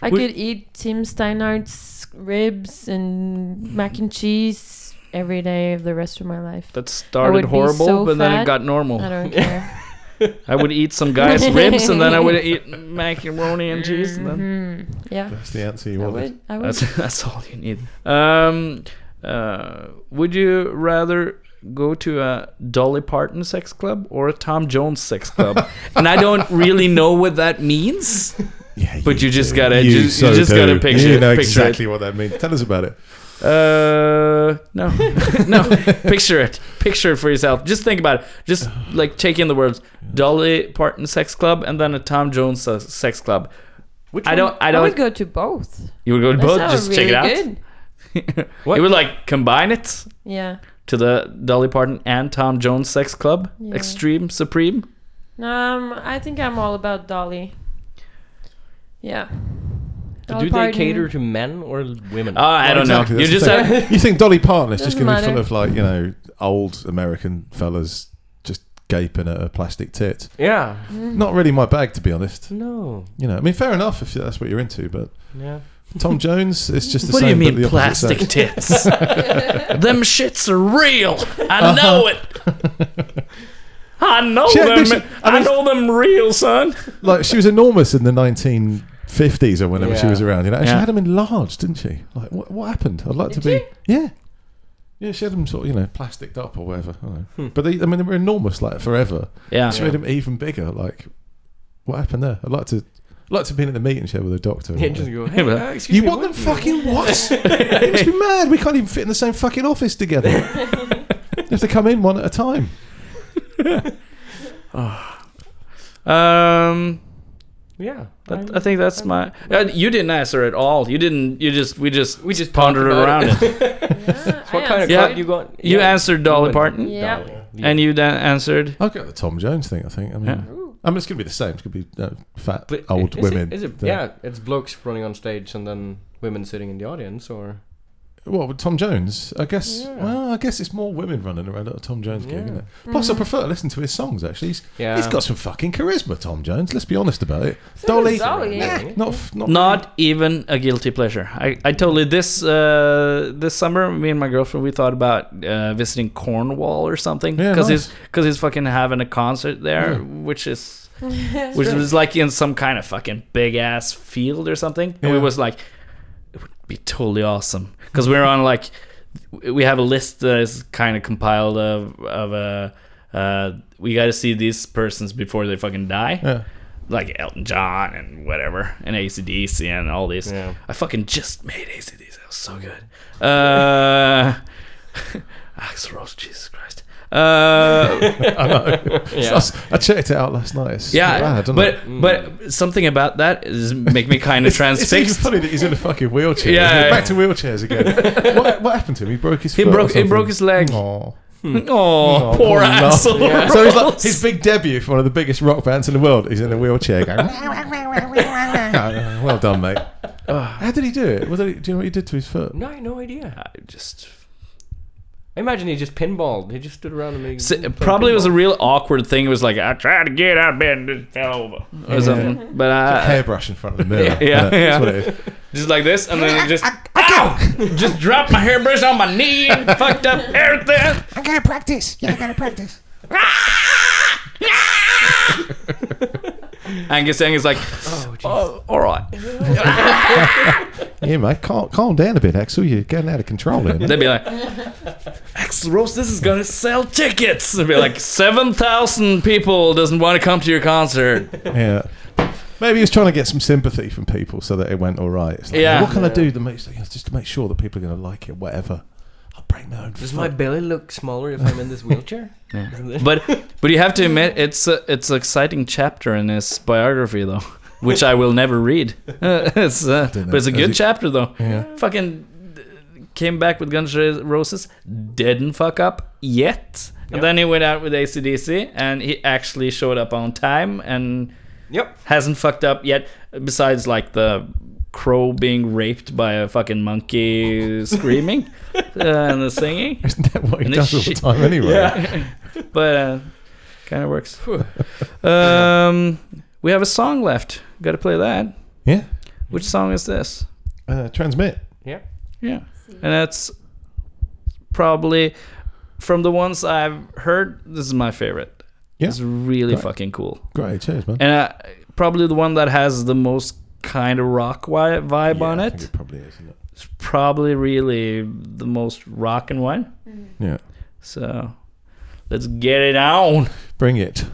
I Would- could eat Tim Steinhardt's ribs and mac and cheese every day of the rest of my life. That I would started be horrible, so but then it fat, got normal. I don't care. I would eat some guy's ribs, and then I would eat macaroni and cheese. And then Hmm. yeah, That's the answer you I wanted. would. I would. That's, that's all you need. Um, uh, would you rather go to a Dolly Parton sex club or a Tom Jones sex club? and I don't really know what that means. but you just gotta you, you so just gotta do. picture, You know picture exactly what that means. Tell us about it. it. Uh, no, no. Picture it. Picture it for yourself. Just think about it. Just like take in the words Dolly Parton sex club and then a Tom Jones se- sex club. Which I don't. I I don't. would go to both. you would go to That both. sounds Just check really it out. good. You would like combine it Yeah. to the Dolly Parton and Tom Jones sex club, Yeah. extreme, supreme. Um, I think I'm all about Dolly. Yeah. Do Dolly they Parton. cater to men or women? Uh, I don't know. Exactly, You just that's the thing. have. you think Dolly Parton is just Doesn't going to be full matter. of like you know old American fellas just gaping at her plastic tit? Yeah. Mm. Not really my bag, to be honest. No. You know, I mean, fair enough if that's what you're into, but Yeah. Tom Jones is just the What do you same. but mean the opposite plastic tits? sex. them shits are real. I know it. I know Shit, them. this- I, know them real, son. like she was enormous in the 1950s or whenever she Yeah. was around. You know, and she Yeah. had them enlarged, didn't she? Like, what, what happened? I'd like to be. Yeah. Yeah, she had them sort of, you know, plasticked up or whatever. I don't Hmm. know. But they, I mean, they were enormous, like forever. Yeah. She made them even bigger. Like, what happened there? I'd like to, I'd like to be in the meeting chair with a doctor. or Yeah, whatever. just go. Hey, uh, excuse you me, want them what do fucking what? you must be mad. We can't even fit in the same fucking office together. you have to come in one at a time. Um, Yeah. that, I think that's my. Uh, you didn't answer at all. You didn't. You just. We just. We just pondered about around it. What kind of Yeah. club you got? You answered Dolly Parton, Yeah. and you then answered. I'll go with the Tom Jones thing. I think. I mean, Yeah. I mean, it's gonna be the same. It's gonna be uh, fat But old is women. It, is it, that- yeah, it's blokes running on stage and then women sitting in the audience, or Well, with Tom Jones, I guess. Yeah. Well, I guess it's more women running around at a Tom Jones gig, Yeah. Mm. isn't it? Plus, I prefer to listen to his songs. Actually, he's, Yeah. he's got some fucking charisma, Tom Jones. Let's be honest about it. Dolly, Dolly. nah, not f- not. Not even a guilty pleasure. I, I totally this uh, this summer. Me and my girlfriend we thought about uh, visiting Cornwall or something Yeah, because nice. he's because he's fucking having a concert there, Yeah. which is which was like in some kind of fucking big ass field or something. And we Yeah. was like, it would be totally awesome because we're on like we have a list that is kind of compiled of of uh, uh we got to see these persons before they fucking die Yeah. like Elton John and whatever, and ACDC and all these. Yeah. I fucking just made ACDC. That was so good. Uh, ah, Axl Rose, Jesus Christ. Uh, I know. Yeah. So I, I checked it out last night. It's yeah, bad, isn't but it? but something about that is make me kind of Mm. It's even transfixed. funny that he's in a fucking wheelchair. Yeah, isn't it? yeah, back to wheelchairs again. what, what happened to him? He broke his. He foot or broke- he broke something. his leg. Aw. Oh, poor love. Axl. So he's like Rose. his big debut for one of the biggest rock bands in the world. He's in a wheelchair going. well done, mate. How did he do it? Was it? Do you know what he did to his foot? no, I have no idea. I just I imagine he just pinballed. He just stood around and made. So it probably was a real awkward thing. It was like I tried to get out of bed and just fell over or Yeah. something. But I, Hairbrush in front of the mirror. Yeah, Uh, That's yeah. what it is. just like this, and then it just ow, just dropped my hairbrush on my knee, and fucked up everything. I gotta practice. Yeah, I gotta practice. Angus Young is like, oh, all right. Yeah, mate. Calm, calm down a bit, Axel. You're getting out of control here. mate. They'd be like, Axel Rose, this is gonna sell tickets. They'd be like, seven thousand people doesn't want to come to your concert. yeah. Maybe he was trying to get some sympathy from people so that it went all right. It's like, Yeah. What can I Yeah. do to make so- just to make sure that people are going to like it, whatever. I'll break my own. Does foot. my belly look smaller if I'm in this wheelchair? Isn't it? but but you have to admit it's a, it's an exciting chapter in his biography though, which I will never read. it's uh, know. but it's Has a good he- chapter though. Yeah. Fucking uh, came back with Guns N' Roses, didn't fuck up yet, and then he went out with ACDC, and he actually showed up on time and yep hasn't fucked up yet. Besides like the crow being raped by a fucking monkey screaming uh, and the singing. Isn't that what he And does all the shit- time anyway? Yeah. but uh, kind of works. um, we have a song left. Got to play that. Yeah. Which song is this? Uh, transmit. Yeah. Yeah. And that's probably from the ones I've heard. This is my favorite. Yeah. It's really Great. fucking cool. Great, cheers, man. And uh, probably the one that has the most kind of rock wi- vibe on it. it probably is, isn't it? It's probably really the most rockin' one. Yeah. So let's get it on. Bring it.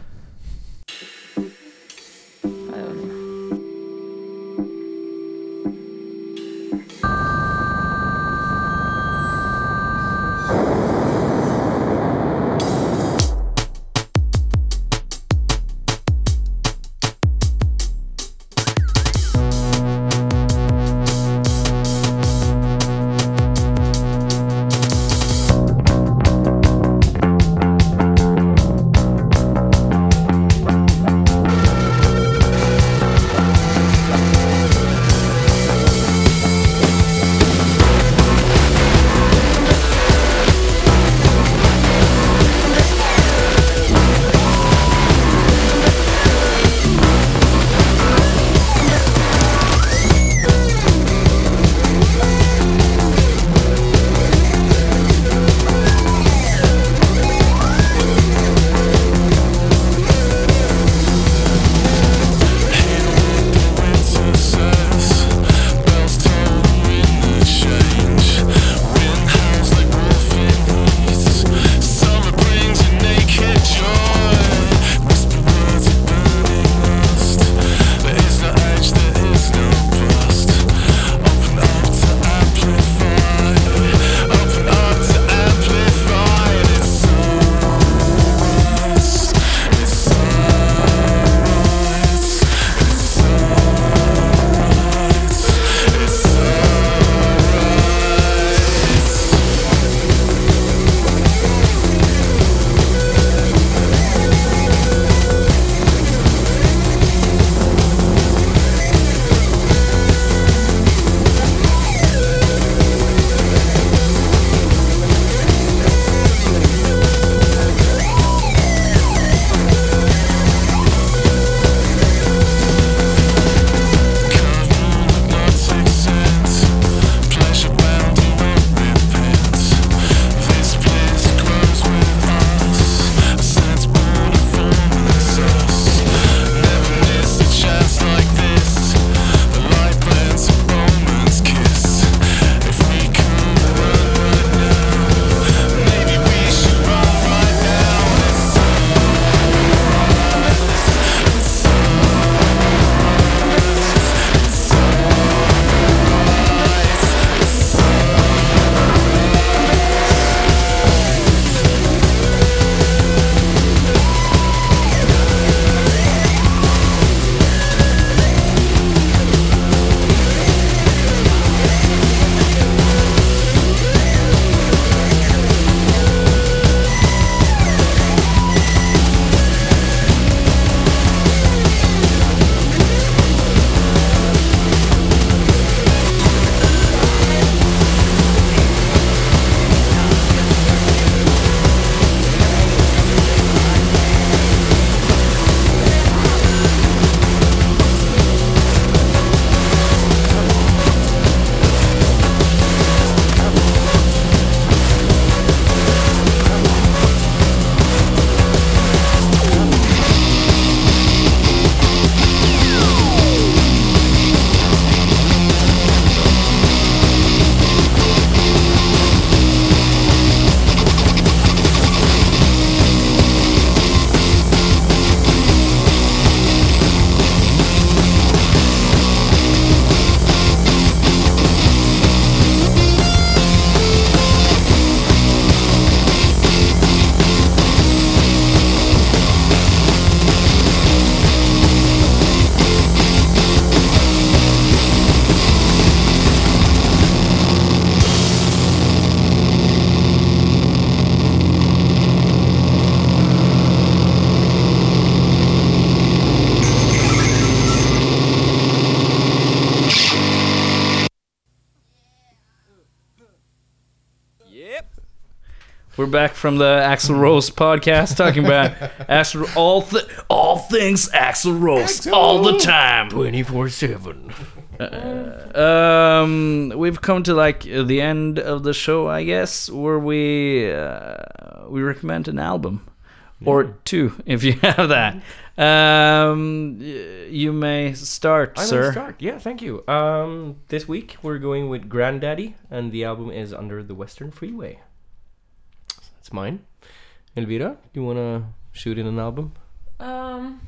We're back from the Axl Rose podcast talking about Axl all th- all things Axl Rose all the time, twenty four seven. Um, we've come to like the end of the show, I guess, where we uh, we recommend an album or two if you have that. Um, y- you may start, I may sir. start. Yeah, thank you. Um, this week we're going with Granddaddy, and the album is Under the Western Freeway. So that's mine. Elvira, you wanna shoot in an album? Um,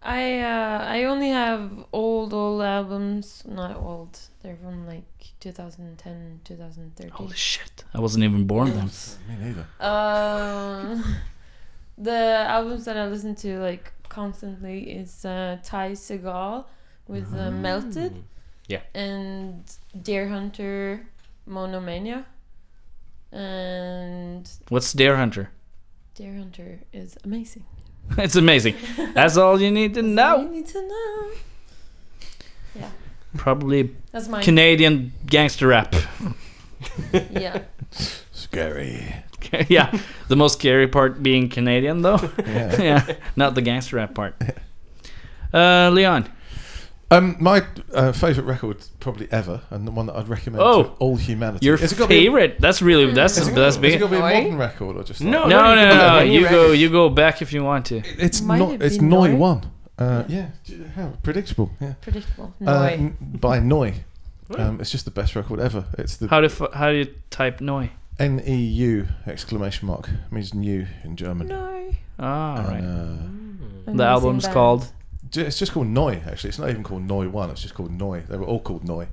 I uh, I only have old old albums. Not old. They're from like 2010, 2013. Holy shit! I wasn't even born then. Me neither. Um, the albums that I listen to like constantly is uh, Ty Segall with Mm. uh, Melted. Yeah. And Deer Hunter, Monomania, and What's Dare Hunter? Deer Hunter is amazing. It's amazing. That's all you need to know. You need to know. Yeah. Probably That's mine. Canadian gangster rap. Yeah. Scary. yeah, the most scary part being Canadian though. Yeah. yeah, not the gangster rap part. Uh, Leon. Um, my uh, favorite record probably ever, and the one that I'd recommend Oh. to all humanity. Your Has it gotta be a- favorite? That's really that's Has it gotta- that's has it big. gotta be a Oh, modern record or just like- no, no, no, no, You go, you go back if you want to. It's not. It's Noi one. Uh, yeah, j- how predictable. Yeah, Predictable. Uh, Noi. n- by Noi. Um, it's just the best record ever. It's the How do f- how do you type Noi? N E U exclamation mark means new in German. Noi. Ah, right. The album's band. called- Ju- It's just called Noi. Actually, it's not even called Noi One. It's just called Noi. They were all called Noi.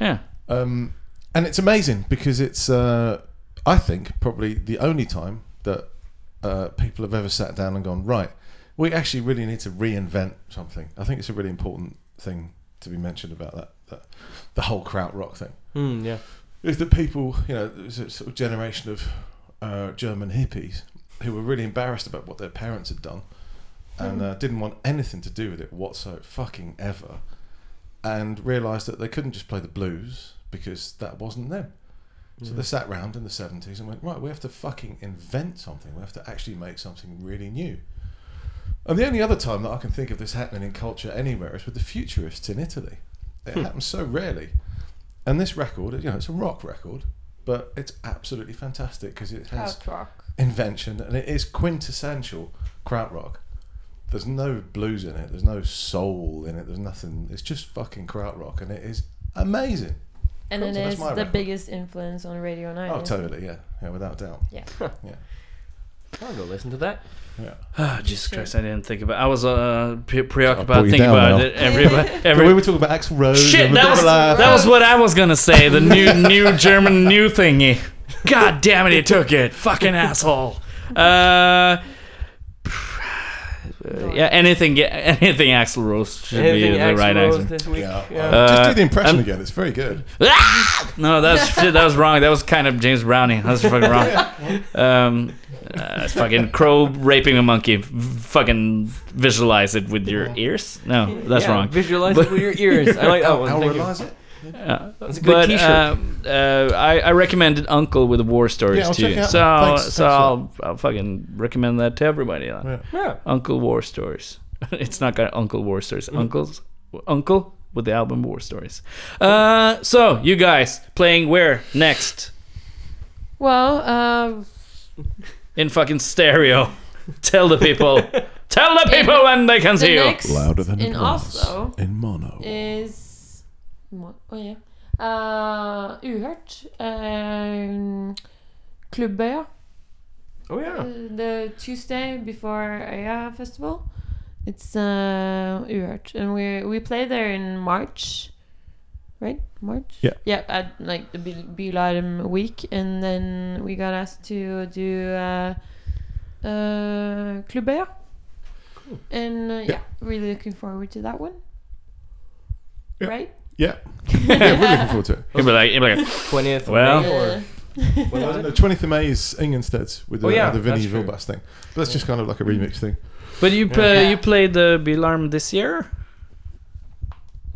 Yeah. Um, and it's amazing because it's uh, I think probably the only time that uh, people have ever sat down and gone right. We actually really need to reinvent something. I think it's a really important thing to be mentioned about that. that the whole krautrock thing Hmm, Mm, yeah. is that people, you know, there's a sort of generation of uh, German hippies who were really embarrassed about what their parents had done and uh, didn't want anything to do with it whatsoever, fucking ever, and realised that they couldn't just play the blues because that wasn't them. So Yeah. they sat round in the 70s and went, right, we have to fucking invent something. We have to actually make something really new. And the only other time that I can think of this happening in culture anywhere is with the futurists in Italy. It Hmm. happens so rarely. And this record, you know, it's a rock record, but it's absolutely fantastic because it has Krautrock. invention and it is quintessential krautrock. There's no blues in it. There's no soul in it. There's nothing. It's just fucking krautrock, and it is amazing. And Cool, it so that's is the my record. biggest influence on Radio 9. isn't Oh, it? totally, yeah, yeah, without doubt. Yeah. yeah. I'll go listen to that. Yeah. Ah, Jesus Sure. Christ! I didn't think about. I was uh, pre- brought preoccupied Oh, you thinking down about now. it. Everybody, every, we were talking about Axl Rose. Shit, and that Rebecca was, Laff. that was what I was gonna say. The new new German new thingy. God damn it, he took it. Fucking asshole. Uh, yeah, anything, anything Axl Rose should Anything be the Axl right Rose answer. this week, Yeah. yeah. Just do the impression I'm- again. It's very good. Ah! No, that's shit, that was wrong. That was kind of James Browning. That was fucking wrong. Um, uh, it's fucking crow raping a monkey. V- Fucking visualize it with your ears. No, that's Yeah, wrong. visualize But- it with your ears. I like that one. I'll Thank you. realise it. Yeah. That's a good but, t-shirt. um, uh, I, I recommended Uncle with War Stories Yeah, I'll to check you. it out. So, Thanks, so thanks a I'll, I'll fucking recommend that to everybody. then. Yeah. Yeah. Uncle War Stories. it's not gonna Uncle War Stories. Mhm. Uncle's Uncle with the album War Stories. Uh, so you guys playing where next Well, uh, in fucking stereo? Tell the people. Tell the people when they can the see you. next in Oslo mono. is mo- oh yeah uh, Uhørt um, Klubbøya oh yeah the Tuesday before Øya festival it's uh, Uhørt and we we play there in March right March Yeah. yeah at like the Bil- Bilarm week and then we got asked to do uh, uh, Klubbøya and uh, yeah. really looking forward to that one right Yeah. yeah, we're looking forward to it. He'll be like, he'll be like, 20th of well, May or- When was it? Uh, The 20th of May is Ingenstedt with the, uh, Oh, yeah, the Vinnie that's true. Vilbas thing. But that's just kind of like a remix thing. But you Yeah. play, you played the Bilarm this year.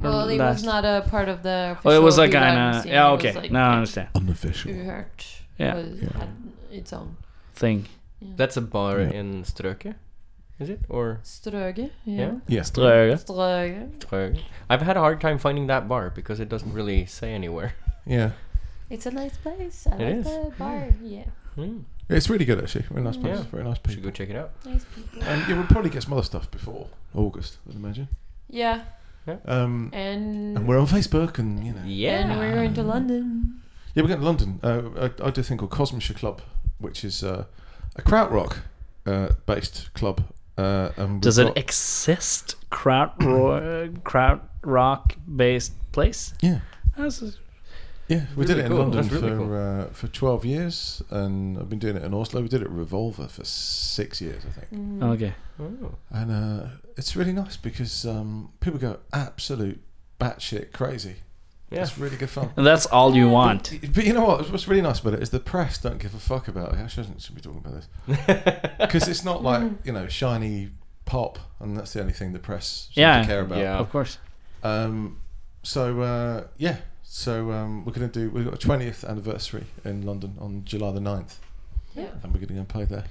Well, it that- was not a part of the. Oh, it was official like an. Iran Uh, scene. yeah, It was okay. like no, I understand. Unofficial. Uhurt Yeah. was- had its own thing. That's a bar in Strøke, is it? Or Strøge. Yeah. Yeah. Strøge. Strøge. Strøke. I've had a hard time finding that bar because it doesn't really say anywhere. Yeah. It's a nice place. I It like is. the bar. Yeah. Hmm. It's really good actually. Very nice place. Yeah. Very nice people. Should go check it out. Nice people. And Um, yeah, we'll probably get some other stuff before August, I'd imagine. Yeah. Um, And- and we're on Facebook, and you know. And we're going to London. Yeah, we're going to London. Uh, I, I do a thing called Cosmosher Club, which is uh, a krautrock uh, based club. Uh, and we've Does it got- exist? Kraut, ro- uh, kraut rock based place? Yeah. That's a- Yeah, we did Really it in cool. London That's really for uh, for twelve years, and I've been doing it in Oslo. We did it at Revolver for six years, I think. Mm. Okay. Oh. And uh, it's really nice because um, people go absolute batshit crazy. Yeah. It's really good fun. And that's all you want. But, but you know what? What's really nice about it is the press don't give a fuck about it. I shouldn't should be talking about this because it's not like you know shiny pop, and that's the only thing the press seem Yeah. to care about. Yeah. Of course. Um, so uh, yeah, so um, we're gonna do. We've got a twentieth anniversary in London on July the 9th. Yeah. and we're gonna go and play there.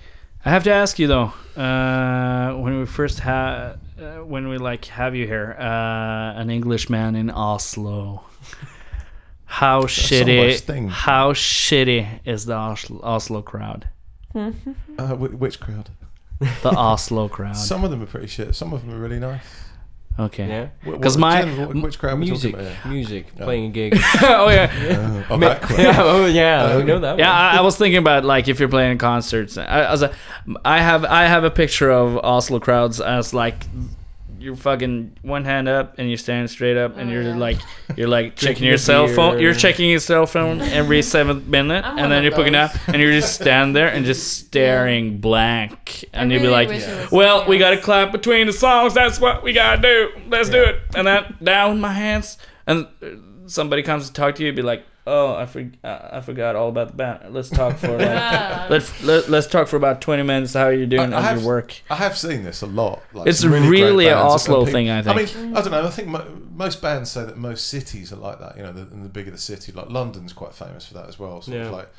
I have to ask you though, uh, when we first had, uh, when we like have you here, uh, an Englishman in Oslo. How almost shitty! thing. How shitty is the Oslo, Oslo crowd? uh, wh- which crowd? The Oslo crowd. Some of them are pretty shit. Some of them are really nice. Okay. Yeah. Wh- Because what- my Jen, wh- which crowd are we talking music, about here? music, Oh. playing a gig. oh yeah. Yeah. Oh, Ma- that crowd. Yeah, oh, yeah, Um, we know that. yeah, I, I was thinking about like if you're playing concerts. I, I was, like, I have I have a picture of Oslo crowds as like you're fucking one hand up and you're standing straight up and Oh, you're like you're like checking Drinking your a cell phone. beer. You're checking your cell phone every seventh minute I'm one and then of you're picking up those. and you're just standing there and just staring blank and you'd be really like, wish it was well, we gotta clap between the songs. That's what we gotta do. Let's do it. And then down my hands and uh, somebody comes to talk to you. You'd be like. Oh, I, for, uh, I forgot all about the band. Let's talk for like, let, let, let's talk for about twenty minutes. How are you doing? I How's have- your work? I have seen this a lot. Like It's some great really a bands. Oslo I've seen thing, I people- think. I mean, I don't know. I think mo- most bands say that most cities are like that. You know, the, and the bigger the city, like London's quite famous for that as well. Sort Yeah. of like,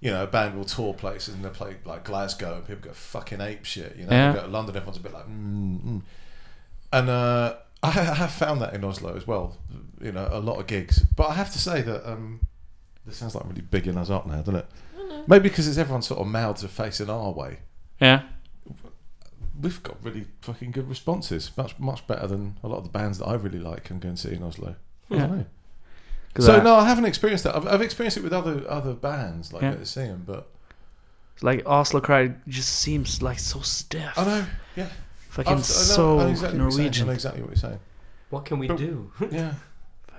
you know, a band will tour places and they play like Glasgow and people go fucking ape shit. You know, Yeah. you go to London, everyone's a bit like, mm, mm. and uh, I, ha- I have found that in Oslo as well. You know, a lot of gigs, but I have to say that. Um, this sounds like I'm really bigging us up now, doesn't it? Maybe because it's everyone sort of mouths are facing our way Yeah. we've got really fucking good responses. Much much better than a lot of the bands that I really like and go and see in Oslo. I don't Yeah. know. 'Cause So I- no, I haven't experienced that. I've, I've experienced it with other other bands like Yeah. yeah. that see 'em, but Like Oslo crowd just seems like so stiff. I know, yeah, Fucking I've- I know- so I know exactly what you're saying. I Norwegian. know exactly what you're saying. What can we But- do? Yeah,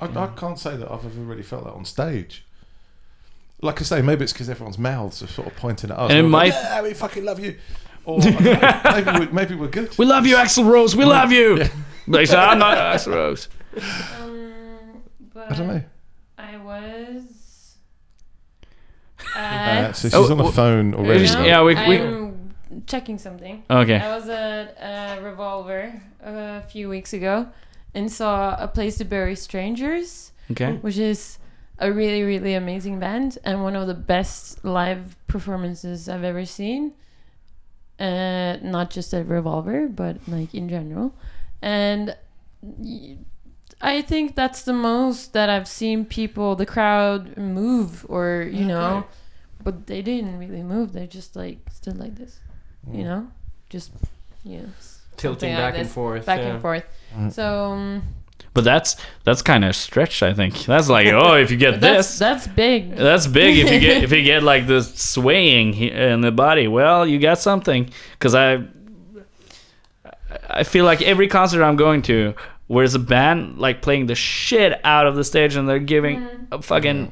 I, I can't say that I've ever really felt that on stage. Like I say, maybe it's because everyone's mouths are sort of pointing at us. And it We're like, might- yeah, we fucking love you. Or I don't know, maybe, we're, maybe we're good. We love you, Axel Rose. We love you. Like, so I'm not Axel Rose. Um, but I don't know. I was. Uh, At, so she's Oh, on w- the phone already. yeah, yeah, we- we- I'm checking something. Okay. I was at uh, Revolver a few weeks ago and saw A Place to Bury Strangers. Okay. Which is a really, really amazing band and one of the best live performances I've ever seen. Uh, not just at Revolver, but like in general. And y- I think that's the most that I've seen people, the crowd move or, you know, but they didn't really move. They just like stood like this, you know, just, you know, s- Tilting something back and forth, Back yeah. and forth. Mm. So um, But that's that's kind of stretched. I think that's like oh, if you get that's, this, that's big. that's big. If you get if you get like the swaying he- in the body, well, you got something. Because I I feel like every concert I'm going to, where's a band like playing the shit out of the stage and they're giving a fucking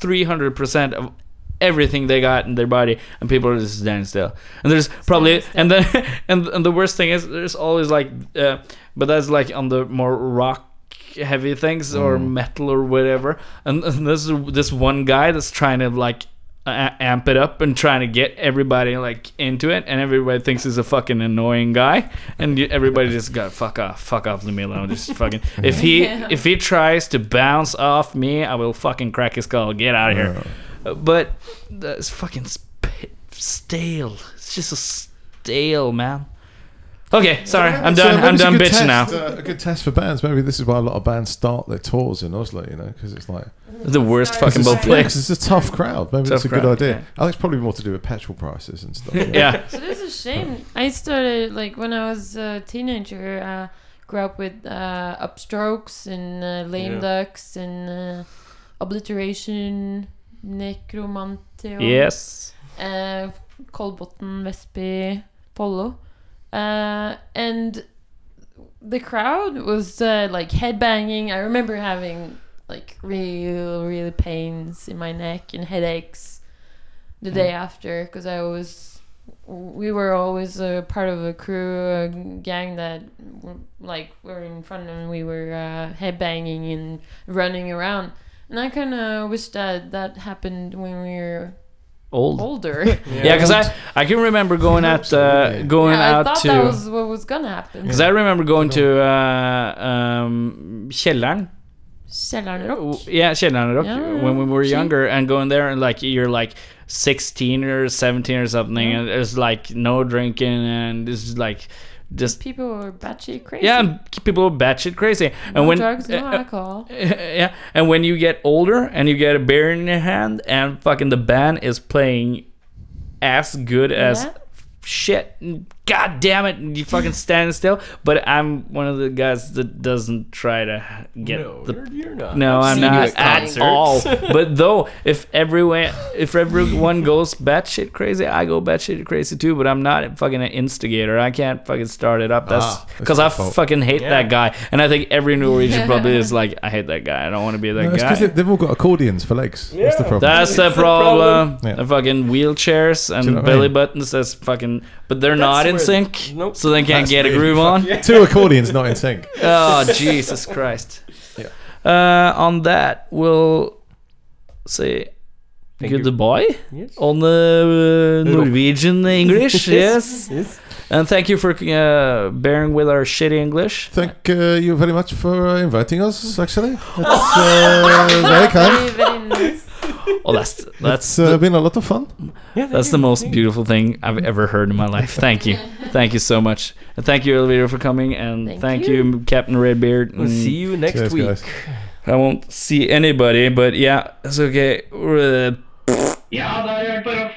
300% of everything they got in their body and people are just standing still. And there's probably and then and, and the worst thing is there's always like uh, but that's like on the more rock heavy things or metal or whatever. And, and this this one guy that's trying to like a- amp it up and trying to get everybody like into it, and everybody thinks he's a fucking annoying guy, and you, everybody just got fuck off, fuck off, leave me alone, just fucking. If he Yeah. if he tries to bounce off me, I will fucking crack his skull. Get out of here. Uh, But that's fucking sp- stale. It's just a stale man. Okay, sorry, I'm So done. maybe I'm it's a done good bitching test, now. uh, a good test for bands. Maybe this is why a lot of bands start their tours in Oslo. You know, because it's like The worst Because fucking it's- bowl yeah, player. 'cause it's a tough crowd. Maybe Tough that's a crowd, good idea. yeah. I think it's probably more to do with petrol prices and stuff. Yeah. So this is a shame. I started like when I was a teenager. Uh, grew up with uh, upstrokes and uh, lame Yeah. ducks and uh, obliteration, necromantion. Yes. Uh, Kolbotn, Vestby, Follo, uh, and the crowd was uh, like headbanging. I remember having like real, real pains in my neck and headaches the day after because I was. We were always a part of a crew, a gang that like were in front and we were uh, headbanging and running around. And I kind of wish that that happened when we were Old. older. Yeah, because I I can remember going out uh, going Yeah, I out thought to. that was what was gonna happen. Because I remember going to uh, um, Kjellern. Källarrock. Yeah, Kjellern Rock Yeah, when we were see. younger and going there and like you're like 16 or 17 or something and there's like no drinking and it's just, like just People were batshit crazy. yeah, and people are batshit crazy. And No when drugs, no uh, uh, alcohol. yeah, and when you get older and you get a beer in your hand and fucking the band is playing as good as Yeah. shit. God damn it, and you fucking stand still. But I'm one of the guys that doesn't try to get No, the. you're- you're not. No, I've I'm seen you not at at concerts. all. but though, if everyone, if everyone goes batshit crazy, I go batshit crazy too. But I'm not fucking an instigator. I can't fucking start it up. That's Ah, that's because I your fault. fucking hate Yeah. that guy. And I think every Norwegian probably is like, I hate that guy. I don't want to be that No, it's guy. because they, have all got accordions for legs. That's the problem. That's the It's problem. Yeah. The fucking wheelchairs and you know what I belly mean? buttons. That's fucking. But they're not in where- sync, so they can't That's get a me. groove on. Two accordions not in sync. Oh Jesus Christ! Yeah. Uh, on that, we'll say Thank you. goodbye Yes. on the uh, Rock. Norwegian English. Yes. yes. And thank you for uh, bearing with our shitty English. Thank uh, you very much for uh, inviting us. Actually, it's uh, very kind. Oh, that's that's It's uh, been a lot of fun. That's the most beautiful thing I've ever heard in my life. Thank you. thank you so much. And thank you, Elevator, for coming. And thank, you. Captain Redbeard. We'll see you next Mm. Cheers, week. guys. I won't see anybody, but yeah, it's okay. Uh, Ja, da har jeg hørt på rock.